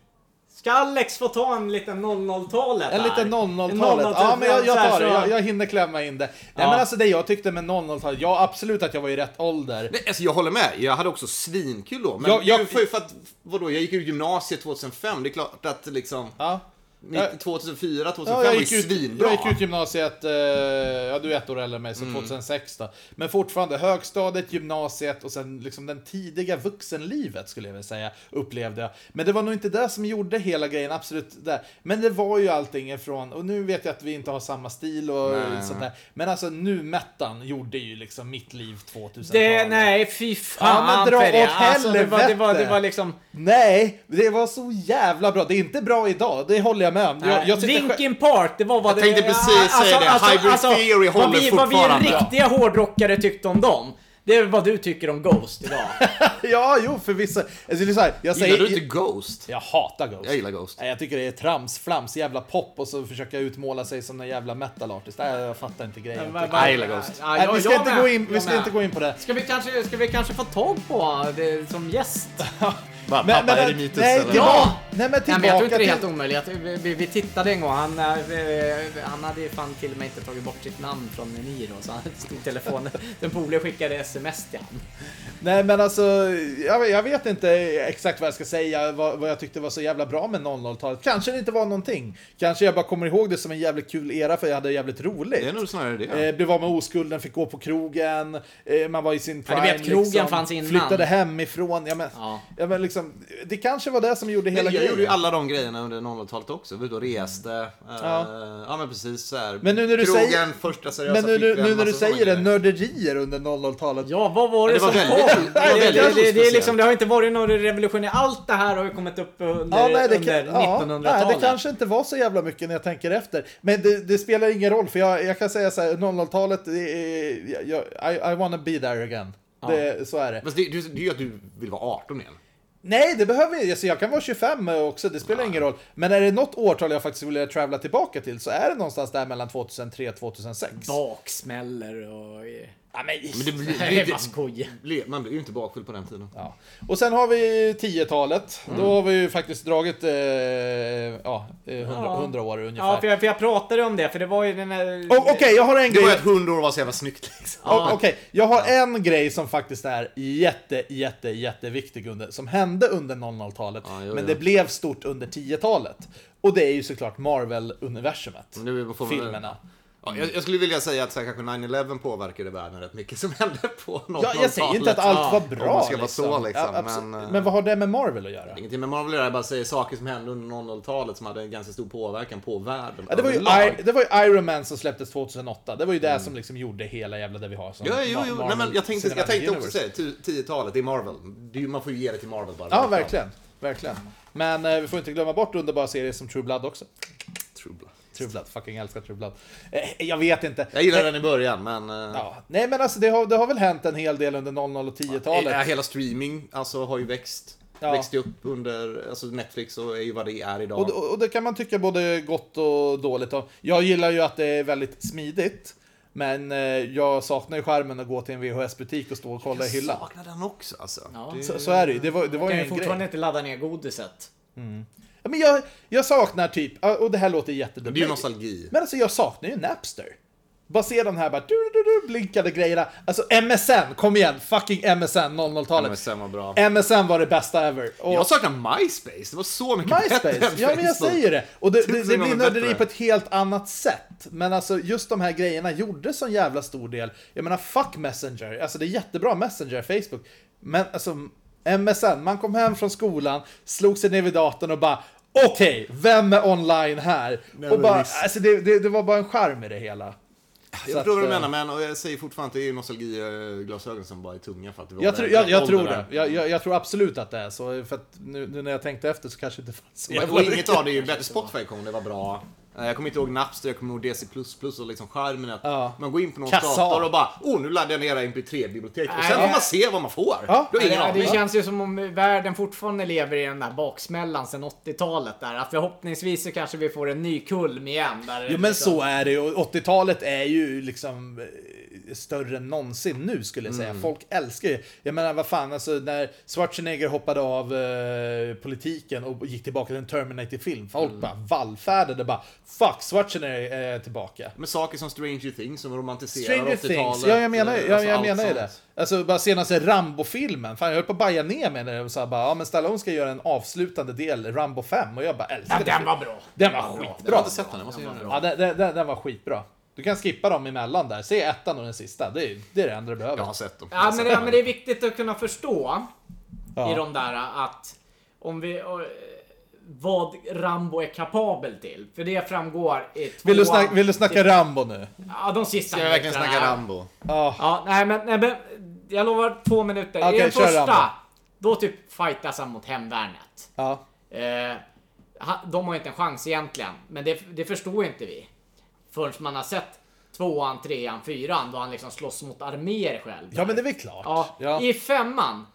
S3: Ska Alex få ta en liten 00-talet
S2: En
S3: här?
S2: liten
S3: En
S2: 00-talet. Ja, men jag, jag
S3: så här,
S2: tar det.
S3: så-
S2: Jag, jag hinner klämma in det. Nej,
S3: Ja.
S2: men alltså det jag tyckte med 00-talet, ja absolut att jag var i rätt ålder.
S1: Nej, alltså jag håller med, jag hade också svinkul då. Men
S2: Jag- jag-
S1: det var ju för att, vadå, jag gick ut gymnasiet 2005, det är klart att liksom...
S2: Ja.
S1: 90, 2004, 2005
S2: Ja,
S1: var
S2: jag,
S1: ju
S2: gick ut,
S1: svinbra.
S2: jag gick ut gymnasiet, eh, ja du är ett år äldre än mig, så
S3: Mm.
S2: 2006 då. Men fortfarande högstadiet, gymnasiet och sen liksom den tidiga vuxenlivet skulle jag vilja säga, upplevde jag. Men det var nog inte det som gjorde hela grejen, absolut där. Men det var ju allting ifrån, och nu vet jag att vi inte har samma stil och
S1: Nej.
S2: sånt där. Men alltså nu mettan gjorde ju liksom mitt liv 2000-talet.
S3: Det, nej, fy fan
S2: Ja, men dra
S3: för det.
S2: åt
S3: Alltså, det, var, det, var, det
S2: helvete.
S3: var liksom...
S2: Nej, det var så jävla bra. Det är inte bra idag, det håller jag med om. Jag, jag sitter själv- *laughs*
S3: Linkin Park, det var vad
S1: Jag tänkte precis säga det. Hybrid Theory
S3: vad
S1: håller
S3: vi, vad vi
S1: fortfarande.
S3: riktiga hårdrockare tyckte om dem. Det är vad du tycker om
S2: *laughs*
S3: Ghost idag.
S2: Ja, jo förvisso. Alltså, det är så här, jag
S1: Gillar
S2: säger...
S1: du inte Ghost?
S2: Jag hatar Ghost.
S1: Jag gillar Ghost.
S2: Nej, jag tycker det är trams, flams, jävla pop och så försöka utmåla sig som en jävla metalartist. Nej, jag fattar inte grejen.
S1: Jag gillar Ghost.
S3: Ja,
S2: Nej,
S3: jag-
S2: vi ska,
S3: jag
S2: inte
S3: med.
S2: gå, in, vi
S3: Jag
S2: ska
S3: med.
S2: inte gå in på det. *laughs*
S3: Ska vi kanske, ska vi kanske få tag på det som gäst?
S1: Bara,
S2: Men,
S1: pappa
S2: men,
S1: Eremitus
S2: nej,
S1: eller?
S2: tillbaka,
S3: Ja!
S2: nej, men
S3: Nej,
S2: tillbaka
S3: men jag tror inte det är
S2: till-
S3: helt omöjligt. Vi, vi, vi tittade en gång. Han, eh, han hade ju fan till och med inte tagit bort sitt namn från Niro. Så han *laughs* stod i telefonen. Den polare skickade sms till honom.
S2: Nej men alltså, jag, jag vet inte exakt vad jag ska säga, vad, vad jag tyckte var så jävla bra med 00-talet. Kanske det inte var någonting. Kanske jag bara kommer ihåg det som en jävligt kul era för jag hade jävligt roligt.
S1: Det är nog snarare det.
S2: Eh, blev av med oskulden, fick gå på krogen, eh, man var i sin
S3: Ja,
S2: prime liksom,
S3: du vet, krogen fanns innan.
S2: Flyttade hemifrån. Ja, men, ja.
S3: Ja.
S2: men liksom, det kanske var det som gjorde hela
S1: jag
S2: grejen.
S1: gjorde ju alla de grejerna under 00-talet också. Vi var ute och reste. eh,
S2: Ja.
S1: Ja. men precis så här.
S2: Men nu när du
S1: Krogen,
S2: säger-
S1: första seriösa
S2: men nu, nu,
S1: flickvän,
S2: nu när du
S1: massa såna
S2: säger det,
S1: grejer.
S2: nörderier under 00-talet.
S3: Ja, vad var det,
S1: det var
S3: som
S1: väldigt-
S3: kom?
S1: det var
S3: Nej,
S1: väldigt
S3: det, det, det, är liksom,
S1: speciellt.
S3: det har inte varit någon revolution. Allt det här har ju kommit upp under,
S2: Ja, nej, det,
S3: under
S2: kan, ja, nej,
S3: 1900-talet.
S2: det kanske inte var så jävla mycket när jag tänker efter. Men det, det spelar ingen roll, för jag, jag kan säga så här, 00-talet, det är- jag, jag, I, I wanna be there again. Det, så är det.
S1: Fast det, det, det är ju att du vill vara 18 igen.
S2: Nej, det behöver jag alltså, Jag kan vara 25 också, det spelar ingen roll. Men är det något årtal jag faktiskt vill travla tillbaka till så är det någonstans där mellan 2003 och 2006.
S3: Baksmäller och... eh,
S2: Ja, men,
S1: Men det blir,
S3: Det
S1: det-
S3: är bara skoj.
S1: det- man blir ju inte bakfull på den tiden.
S2: Ja. Och sen har vi 10-talet.
S3: Mm.
S2: Då har vi ju faktiskt dragit eh, ja, eh, 100,
S3: Ja.
S2: 100 år
S3: Ja,
S2: ungefär.
S3: för jag, för jag pratade om det, för det var ju den här...
S2: Oh, Okej, jag har en
S1: Det
S2: grej.
S1: var ju att hundra år var så jävla snyggt liksom.
S2: Ja, Okej, jag har en grej som faktiskt är jätte, jätte, jätteviktig under, som hände under 00-talet,
S1: Ja, jo,
S2: men
S1: jo.
S2: det blev stort under 10-talet. Och det är ju såklart Marvel-universumet.
S1: Nu får man-
S2: Filmerna.
S1: Ja, jag, jag skulle vilja säga att så här, kanske 9-11 påverkade världen rätt mycket som hände på 00-talet.
S2: Ja, jag säger inte att allt var bra.
S1: om man ska vara så, liksom,
S2: Ja, absolut.
S1: men, eh,
S2: men vad har det med Marvel att göra?
S1: Ingenting med Marvel att göra, jag bara säger saker som hände under 00-talet som hade en ganska stor påverkan på världen.
S2: Ja, det, var ju
S1: överlag.
S2: I, det var ju Iron Man som släpptes 2008. Det var ju det som liksom gjorde hela jävla det vi har. Som
S1: Mm. Ja, jo,
S2: Ma-
S1: jo. Nej,
S2: Marvel
S1: men jag tänkte, jag
S2: Cinematic
S1: tänkte också
S2: Universe.
S1: säga ty- 10-talet, det är Marvel. Det är, ju- man får ju ge det till Marvel bara.
S2: Ja, verkligen. Verkligen. Men eh, vi får inte glömma bort underbara serier som True Blood också.
S1: True Blood.
S2: True Blood, fucking älskar True Blood. Eh, jag vet inte.
S1: Jag gillade
S2: Eh,
S1: den i början, men... eh,
S2: Ja. Nej men alltså det har, det har väl hänt en hel del under 00 och 10-talet.
S1: eh, Hela streaming alltså, har ju växt.
S2: Ja.
S1: Växte upp under alltså Netflix och är ju vad det är idag.
S2: Och, och, och det kan man tycka både gott och dåligt om. Jag gillar ju att det är väldigt smidigt. Men eh, jag saknar ju skärmen att gå till en VHS-butik och stå och kolla i
S1: jag
S2: hyllan.
S1: saknar den också alltså.
S3: Ja.
S2: Så, så är det ju. Det var, det var
S3: kan
S2: ju
S3: ju
S2: en grej.
S3: fortfarande inte ladda ner godiset.
S2: Ja, men jag, jag saknar typ, ja, och det här låter jättedumt.
S1: Det är ju nostalgi.
S2: Men alltså jag saknar ju Napster. Bara se de här bara du, du, du, blinkade grejerna. Alltså MSN, kom igen, fucking MSN 00-talet.
S1: MSN var bra.
S2: MSN var det bästa ever. Eh, Och
S1: Jag saknar MySpace, det var så mycket bättre
S2: MySpace,
S1: än
S2: ja men jag
S1: Facebook. Typ
S2: säger det. Och det, det,
S1: Tusen
S2: det blir
S1: gånger
S2: nörderi
S1: bättre.
S2: på ett helt annat sätt. Men alltså just de här grejerna gjorde så jävla stor del. Jag menar fuck Messenger, alltså det är jättebra Messenger, Facebook. Men alltså MSN, man kom hem från skolan, slog sig ner vid datorn och bara Okej, vem är online här? och
S1: men
S2: bara,
S1: visst.
S2: alltså det, det, det var bara en charm i det hela. Så
S1: Jag förstår
S2: att,
S1: vad du
S2: eh,
S1: menar, men och jag säger fortfarande att det är nostalgiglasögon som bara är tunga för att det var
S2: Jag,
S1: den
S2: tror- jag, jag
S1: åldern
S2: tror det.
S1: där.
S2: Jag, jag, jag tror absolut att det är så. För att nu, nu när jag tänkte efter så kanske det inte fanns så
S1: Och-
S2: jävla
S1: Och inget
S2: mycket.
S1: av det är ju bättre. Spotify kom, det var bra. Eh, Jag kommer inte ihåg Napster, jag kommer ihåg DC++ och liksom skärmen. Att
S2: Ja.
S1: Man går in på någons
S2: Kassa.
S1: dator och bara Åh, nu laddar jag ner det här mp3-biblioteket. Och sen
S3: Nej.
S1: får man se vad man får.
S2: Ja.
S1: Du har ingen
S3: Ja,
S1: aning.
S3: det känns ju som om världen fortfarande lever i den där baksmällan sen 80-talet där. Att förhoppningsvis så kanske vi får en ny kulm igen. Där det
S2: Jo men
S3: liksom-
S2: så är det ju. Och 80-talet är ju liksom eh, större än någonsin nu skulle jag säga.
S1: Mm.
S2: Folk älskar ju. Jag menar vad fan, alltså när Schwarzenegger hoppade av eh, politiken och gick tillbaka till en Terminator-film. Folk
S1: Mm.
S2: bara vallfärdade bara Fuck, Schwarzenegger är tillbaka.
S1: Med saker som Stranger Things som romantiserar
S2: Stranger
S1: 80-talet.
S2: Things, ja jag menar,
S1: eh,
S2: jag,
S1: alltså
S2: jag
S1: allt
S2: menar ju det.
S1: sånt.
S2: Alltså bara senaste Rambo-filmen, fan jag höll på att baja ner mig när de sa bara ja men Stallone ska göra en avslutande del, Rambo 5, och jag bara älskar
S3: Ja, den var bra.
S2: Den var skitbra!
S1: Jag har inte sett den, jag måste göra
S2: Ja,
S1: det.
S2: den, den, den, den var skitbra. Du kan skippa dem emellan där. Se ettan och den sista. Det är det, är det enda du behöver.
S1: Jag har sett dem.
S3: Ja men, ja, men det är viktigt att kunna förstå
S2: Ja.
S3: i de där att om vi... eh, Vad Rambo är kapabel till. För det framgår i två...
S2: vill, du snack, vill du snacka Rambo nu?
S3: Ja, de sista
S1: Ska jag verkligen
S3: minuterna
S1: snacka
S3: här.
S1: Rambo?
S2: Ja.
S3: Ja, nej men, nej men jag lovar två minuter. I
S2: Okej,
S3: den
S2: kör Rambo.
S3: första, då typ fightas han mot hemvärnet.
S2: ja.
S3: Eh, ha- de har inte en chans egentligen, men det, det förstår inte vi. Förrän man har sett tvåan, trean, fyran då han liksom slåss mot arméer själv.
S2: Ja, men det är väl klart.
S3: Ja,
S2: Ja.
S3: I femman,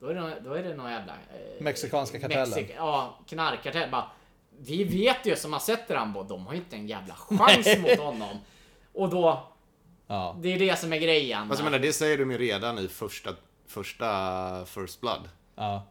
S3: då är det, nå- då är det någon jävla... Eh,
S2: Mexikanska kartellen.
S3: Mexik- ja, knarkkartell. Bara, vi vet ju som har sett Rambo, de har ju inte en jävla chans mot honom. Och då,
S2: Ja.
S3: det är det som är grejen.
S1: Fast Alltså, jag menar, det säger de ju redan i första, första First Blood.
S2: Ja.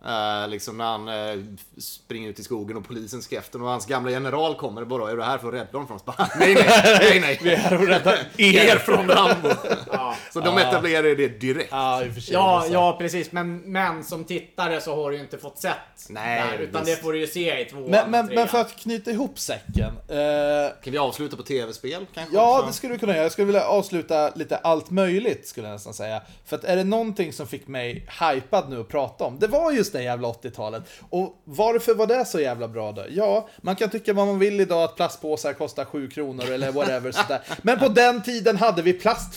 S1: Eh, liksom när han eh, springer ut i skogen och polisen ska efter honom och hans gamla general kommer och bara är du här för att rädda honom från oss?
S2: *laughs*
S1: Bara, nej, *laughs* nej, nej, nej.
S2: Här
S1: *laughs*
S2: och rädda
S1: Er från Rambo.
S3: ja.
S1: Så de etablerar ju det direkt.
S2: Ja, i och för sig.
S3: Ja,
S2: Det är
S3: ja precis. Men, men som tittare så har du ju inte fått sett
S1: Nej,
S3: där, utan
S1: visst.
S3: det får du ju se i tvåan
S2: Men, men,
S3: och
S2: men för
S3: trean.
S2: att knyta ihop säcken. Eh,
S1: Kan vi avsluta på tv-spel kanske?
S2: Ja,
S1: också?
S2: det skulle vi kunna göra. Jag skulle vilja avsluta lite allt möjligt, skulle jag nästan säga. För att är det någonting som fick mig hypad nu att prata om, det var just det jävla 80-talet. Och varför var det så jävla bra då? Ja, man kan tycka vad man vill idag att plastpåsar kostar 7 kronor eller whatever sådär. Men på den tiden hade vi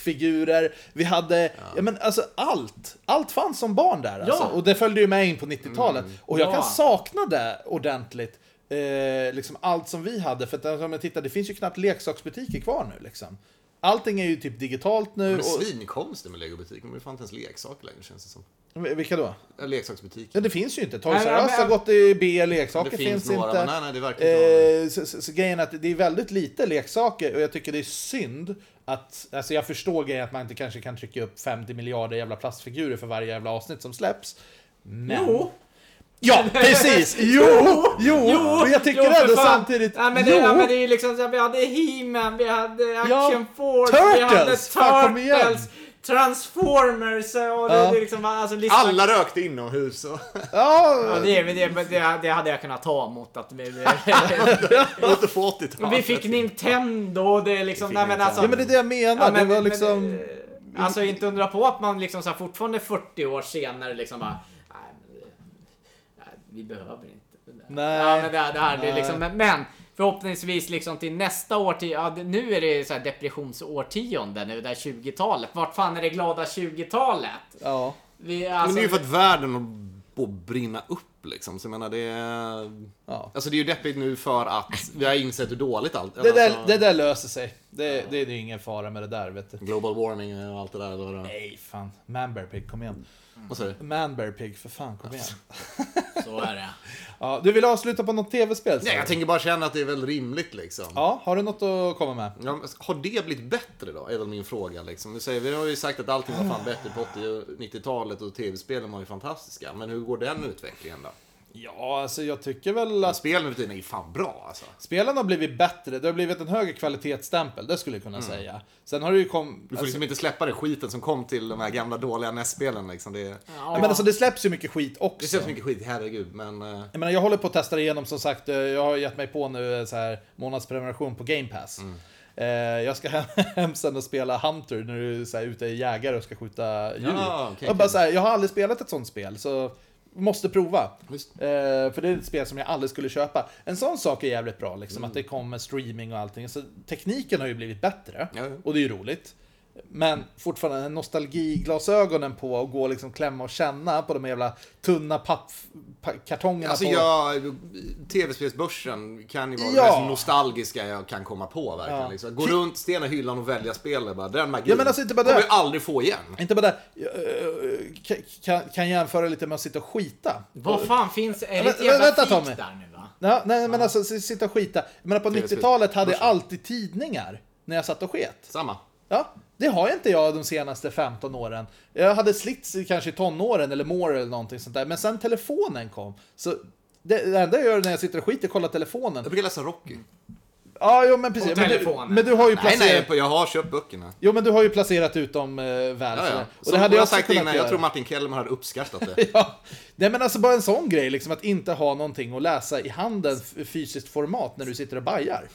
S2: plastfigurer, vi hade, ja, men alltså allt. Allt fanns som barn där alltså.
S3: Ja.
S2: Och det följde ju med in på 90-talet. Och jag
S3: Ja.
S2: kan sakna det ordentligt. Eh, liksom allt som vi hade. För att om jag tittar, det finns ju knappt leksaksbutiker kvar nu liksom. Allting är ju typ digitalt nu.
S1: Men
S2: Och,
S1: svinkonstigt med legobutiken, de har ju fan inte ens leksaker längre känns det som.
S2: eh, vilka då?
S1: Eller leksaksbutik.
S2: Ja, det finns ju inte. Toys
S3: Nej,
S2: R Us
S3: men-
S2: har gått i B, leksaker
S1: Det
S2: finns,
S1: finns några,
S2: inte.
S1: men nej, nej, det verkar inte
S2: eh, så, så, så grejen är att det är väldigt lite leksaker och jag tycker det är synd att, alltså jag förstår grejen att man inte kanske kan trycka upp 50 miljarder jävla plastfigurer för varje jävla avsnitt som släpps. Men...
S3: Jo!
S2: Ja,
S3: *laughs*
S2: precis! Jo! Jo! men jag tycker
S3: jo, för
S2: ändå
S3: fan.
S2: samtidigt...
S3: Ja, men det,
S2: jo!
S3: ja, men det är ju liksom så här, vi hade He-Man, vi hade
S2: Ja,
S3: Action Force, vi hade
S2: Turtles! Fan, kom igen.
S3: Turtles, Transformers och det,
S2: Ja.
S3: det är liksom, alltså listan...
S1: Alla rökte inomhus.
S2: *laughs*
S1: Och
S2: Ja,
S3: Ja, det, men det, men det, det hade jag kunnat ta mot att vi...
S2: *laughs*
S1: låter få 80-talet.
S3: vi fick Nintendo och det är liksom,
S1: Vi fick
S3: nej men alltså...
S2: ja, men det är det jag menar.
S3: Ja, men-
S2: det var
S3: men-
S2: liksom... Mm.
S3: eh, Alltså inte undra på att man liksom så här, fortfarande 40 år senare liksom bara... Nej, men, det- nej vi behöver inte det där.
S2: Nej.
S3: Ja, men det, det här, det är
S2: Nej.
S3: liksom, men, men förhoppningsvis liksom till nästa årtionde. Ja, det- nu är det så här depressionsårtionde nu, det här 20-talet. Vart fan är det glada 20-talet?
S2: Ja.
S3: Vi,
S1: Men
S3: alltså,
S1: det är ju för att världen håller på att brinna upp liksom. Så jag menar det är...
S2: Ja.
S1: Alltså det är ju deppigt nu för att vi har insett hur dåligt allt
S2: Det, där,
S1: alltså,
S2: det där löser sig. Det, det, det är ingen fara med det där, vet du.
S1: Global warming och allt det där. Eller vad det
S2: Nej, fan. Man bear pig, kom igen.
S1: Vad sa du?
S2: Man bear pig, för fan, kom igen.
S3: så är det.
S2: Alltså. Ja, du vill avsluta på något tv-spel? sa
S1: Nej,
S2: du?
S1: jag tänker bara känna att det är väl rimligt liksom.
S2: Ja, har du något att komma med?
S1: Ja, men har det blivit bättre då? Är väl min fråga liksom. Nu säger, vi har ju sagt att allting var fan bättre på 80 och 90-talet och tv-spelen var ju fantastiska. Men hur går den utvecklingen då?
S2: Ja, alltså jag tycker väl att
S1: Spelen nu för tiden är ju fan bra alltså.
S2: spelen har blivit bättre. Det har blivit en högre kvalitetsstämpel, det skulle jag kunna säga. Sen har det ju alltså, kommit...
S1: Du får liksom inte släppa den skiten som kom till de här gamla dåliga NES-spelen liksom. Det,
S3: Ja,
S2: Ja, men alltså det släpps ju mycket skit
S1: det
S2: också.
S1: släpps mycket skit, herregud. Men... eh,
S2: Jag menar, jag håller på att testa igenom som sagt. eh, Jag har gett mig på nu eh, så här månadsprenumeration på Game Pass.
S1: Mm.
S2: Eh, jag ska *laughs* hem sen och spela Hunter när du är så här, ute och jägar och ska skjuta djur.
S1: Ja, okej,
S2: jag, bara,
S1: kul.
S2: så här, jag har aldrig spelat ett sånt spel, så måste prova.
S1: Just.
S2: Eh, för det är ett spel som jag aldrig skulle köpa. En sån sak är jävligt bra, liksom,
S1: Mm.
S2: att det kommer streaming och allting. Så tekniken har ju blivit bättre,
S1: Ja, ja.
S2: och det är ju roligt. Men fortfarande nostalgiglasögonen på och gå och liksom klämma och känna på de jävla tunna pappkartongerna.
S1: Alltså
S2: på...
S1: jag, tv-spelsbörsen kan ju vara
S2: Ja.
S1: det mest nostalgiska jag kan komma på verkligen.
S2: Ja.
S1: Liksom. Gå runt, stena hyllan och välja spel. och Bara, den magin
S2: Ja, men alltså, inte bara
S1: kommer
S2: det.
S1: jag aldrig få igen.
S2: Inte bara det, eh, ka- kan, kan jämföra lite med att sitta och skita.
S3: Vad fan finns... Är det ett
S2: Vä-
S3: jävla
S2: vänta,
S3: fik
S2: Tommy.
S3: där nu va?
S2: Ja, nej, men alltså s- sitta och skita. Men på
S1: Det är
S2: 90-talet hade jag
S1: börsen.
S2: alltid tidningar när jag satt och sket.
S1: Samma.
S2: Ja, det har jag inte jag de senaste 15 åren. Jag hade slits i kanske i tonåren eller mår eller någonting sånt där. Men sen telefonen kom, så det, det enda jag gör när jag sitter och skiter är att kolla telefonen.
S1: Jag brukar läsa Rocky.
S2: Mm. Ja, jo men precis.
S3: Och
S2: Men du,
S3: telefonen.
S2: men du har ju placerat...
S1: Nej, nej, jag har köpt böckerna.
S2: Jo men du har ju placerat ut dem eh, väl.
S1: Ja,
S2: sådär.
S1: ja.
S2: Och
S1: Som
S2: det hade
S1: jag
S2: jag också
S1: sagt
S2: kunnat
S1: innan,
S2: göra.
S1: jag tror Martin Kellerman hade uppskattat det.
S2: *laughs* Ja. Nej men alltså bara en sån grej, liksom att inte ha någonting att läsa i handen f- fysiskt format när du sitter och bajar.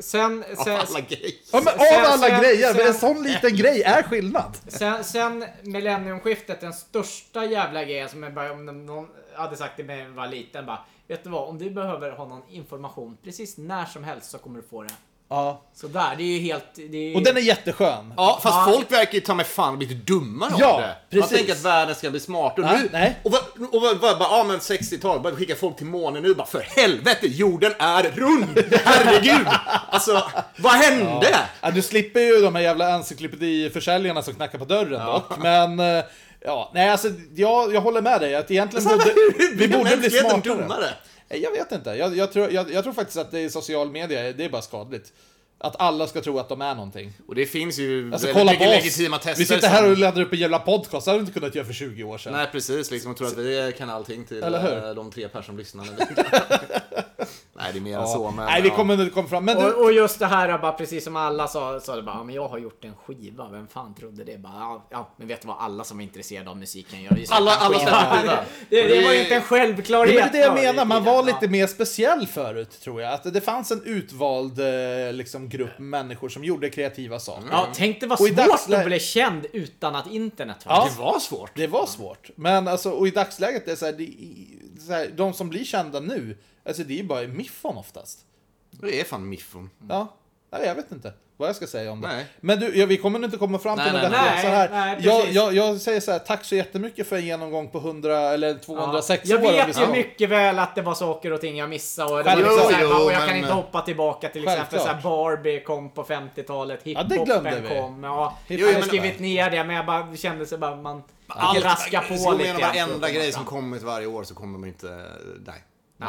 S3: Sen...
S1: Av
S3: sen
S1: alla grejer.
S2: Ja, men
S3: Sen-
S2: av alla
S3: sen-
S2: grejer, men en
S3: sen-
S2: sån liten grej är skillnad.
S3: Sen, sen millenniumskiftet, den största jävla grejen som jag bara, om någon hade sagt det när jag var liten bara. Vet du vad, om du behöver ha någon information precis när som helst så kommer du få det.
S2: Ja.
S3: Så där, det är ju helt... Det är,
S2: Och den är jätteskön.
S1: Ja, fast
S3: Ja.
S1: folk verkar ju ta mig fan bli dummare
S2: Ja,
S1: av det. Man
S2: precis.
S1: tänker att världen ska bli smart. Och
S2: Ja,
S1: nu,
S2: nej.
S1: och, vad, och vad, vad, bara, ja men 60-talet, bara skicka folk till månen nu bara för helvete, jorden är rund!
S2: *laughs*
S1: Herregud! alltså, vad hände?
S2: Ja, du slipper ju de här jävla encyklopediförsäljarna som knackar på dörren dock, men... eh, Ja, nej alltså jag, jag håller med dig att egentligen
S1: Alltså,
S2: borde vi
S1: Blev
S2: borde bli
S1: mänskligheten
S2: smartare.
S1: dummare?
S2: Nej, Jag vet inte. Jag, jag, tror, jag, jag tror faktiskt att det är social media, det är bara skadligt. Att alla ska tro att de är någonting.
S1: Och det finns ju
S2: Alltså
S1: väldigt
S2: kolla på
S1: mycket
S2: oss!
S1: legitima tester.
S2: Vi sitter här
S1: som-
S2: och laddar upp en jävla podcast, det hade vi inte kunnat göra för 20 år sedan.
S1: Nej precis, liksom, jag tror att vi kan allting till
S2: Eller hur?
S1: eh, de tre personer som
S2: *laughs*
S1: lyssnar. nu. Nej, det är mer än så. Men,
S2: Nej, vi
S1: ja.
S2: kommer inte komma fram. Men du,
S3: och, och just det här bara precis som alla sa, sa det bara, ja, men jag har gjort en skiva, vem fan trodde det? Bara, ja, ja, men vet du vad, alla som är intresserade av musik kan göra ju
S1: Alla-
S3: släppa en
S1: alla
S3: skiva.
S1: släpper en skiva.
S3: det, det, var ju
S1: Det-
S3: inte en
S2: Ja,
S3: självklarhet.
S2: men det är det jag
S3: förr i
S2: menar, man
S3: tiden.
S2: var
S3: Ja.
S2: lite mer speciell förut tror jag. Att det fanns en utvald eh, liksom, grupp människor som gjorde kreativa saker.
S3: Ja, tänk det var
S2: Och i
S3: svårt
S2: dagsläge-
S3: att bli känd utan att internet fanns.
S2: Ja.
S1: Det var svårt.
S2: Det var svårt. Men alltså, och i dagsläget, det är så här, det, är så här, de som blir kända nu, alltså det är ju bara miffon oftast.
S1: Det är fan miffon.
S2: Ja, nej, jag vet inte vad jag ska säga om det.
S1: Nej.
S2: Men du, ja, vi kommer inte komma fram till
S1: Nej,
S2: något
S1: nej,
S2: bättre än
S3: nej.
S2: så här.
S3: Nej, precis.
S2: jag, jag, jag säger så här, tack så jättemycket för en genomgång på 100 eller 206
S3: jag
S2: år. om vi
S3: vet
S2: ska-
S3: ju mycket väl att det var saker och ting jag missade och, det var
S2: Självklart.
S3: liksom så här,
S1: Jo,
S3: bara,
S1: jo,
S3: och jag kan
S1: men-
S3: inte hoppa tillbaka till exempel så här,
S2: Självklart.
S3: Barbie kom på 50-talet,
S2: det
S3: hiphopen
S2: glömde vi.
S3: kom. Ja,
S2: Jo,
S3: jag
S1: jo,
S3: hade
S1: men-
S3: skrivit ner det men jag bara kände så bara man
S1: Allt-
S3: raska
S1: så
S3: på
S1: går man
S3: lite.
S1: igenom
S3: grann för att
S1: Varenda
S3: komma
S1: grej
S3: fram.
S1: som kommit varje år så kommer man inte... Nej.
S3: Nej.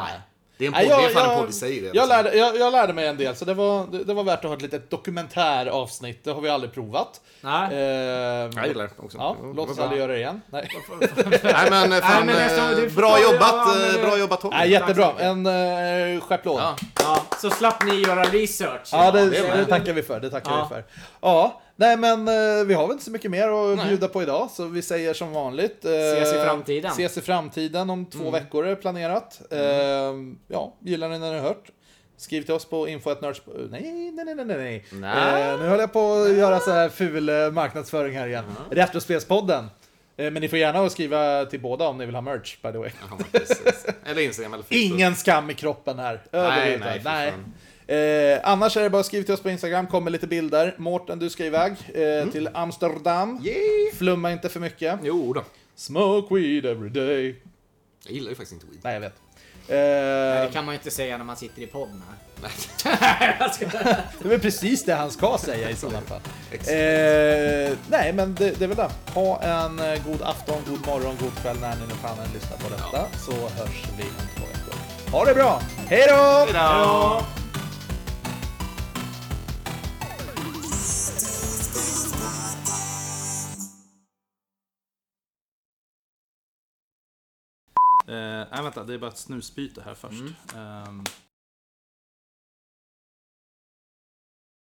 S1: Det är en
S2: Nej,
S1: podd, det är fan en podd i sig det.
S2: jag,
S1: liksom.
S2: lärde, jag, jag lärde mig en del, så det var, det, det var värt att ha ett litet dokumentäravsnitt. Det har vi aldrig provat.
S3: Nej.
S2: Ehm,
S1: Jag gillar det också.
S2: Ja,
S1: Det var-
S2: låt oss
S1: det var
S2: aldrig göra det alltså, igen. Nej.
S1: Nej men eh, fan,
S3: men nästa-
S1: eh,
S3: du får
S1: bra
S3: ta-
S1: jobbat,
S3: ja, men-
S1: eh, bra jobbat Tommy.
S2: Nej, jättebra. En uh, stjärtplåt. Ja,
S1: Ja.
S3: Ja, så slapp ni göra research.
S2: det,
S1: det
S2: det,
S1: med.
S2: tackar vi för. Det tackar
S3: Ja.
S2: vi för. Ja, nej men eh, vi har väl inte så mycket mer att bjuda på idag, så vi säger som vanligt. eh,
S3: Ses i framtiden.
S2: Ses i framtiden om
S1: Mm.
S2: två veckor är planerat. Eh, ja, gillar ni när ni har hört? Skriv till oss på info nörds... Nej, nej, nej, nej, nej.
S1: Nej. Mm.
S2: Eh, nu höll jag på att göra så här ful eh, marknadsföring här igen. Retrospelspodden. Eh, men ni får gärna skriva till båda om ni vill ha merch, by the way.
S1: Ja, precis. Eller Instagram eller Facebook.
S2: Ingen skam i kroppen här.
S1: nej,
S2: Överhuvudtaget.
S1: för
S2: Nej, Eh, annars är det bara att skriva till oss på Instagram, kommer lite bilder. Mårten, du ska iväg eh,
S1: Mm.
S2: till Amsterdam.
S1: Yeah.
S2: Flumma inte för mycket.
S1: Jo då.
S2: Smoke weed every day.
S1: Jag gillar ju faktiskt inte weed.
S2: Nej, jag vet. Eh,
S3: Det kan man ju inte säga när man sitter i podden
S2: *laughs*
S3: här.
S1: Nej.
S2: det var precis det han ska säga i sådana fall.
S1: Exakt.
S2: Eh, nej, men det, det är väl det. Ha en eh, god afton, god morgon, god kväll när ni nu fan än lyssnar på detta. Så hörs vi om två veckor. Ha det bra! Hej då! Mm. nej, vänta, det är bara ett snusbyte här först.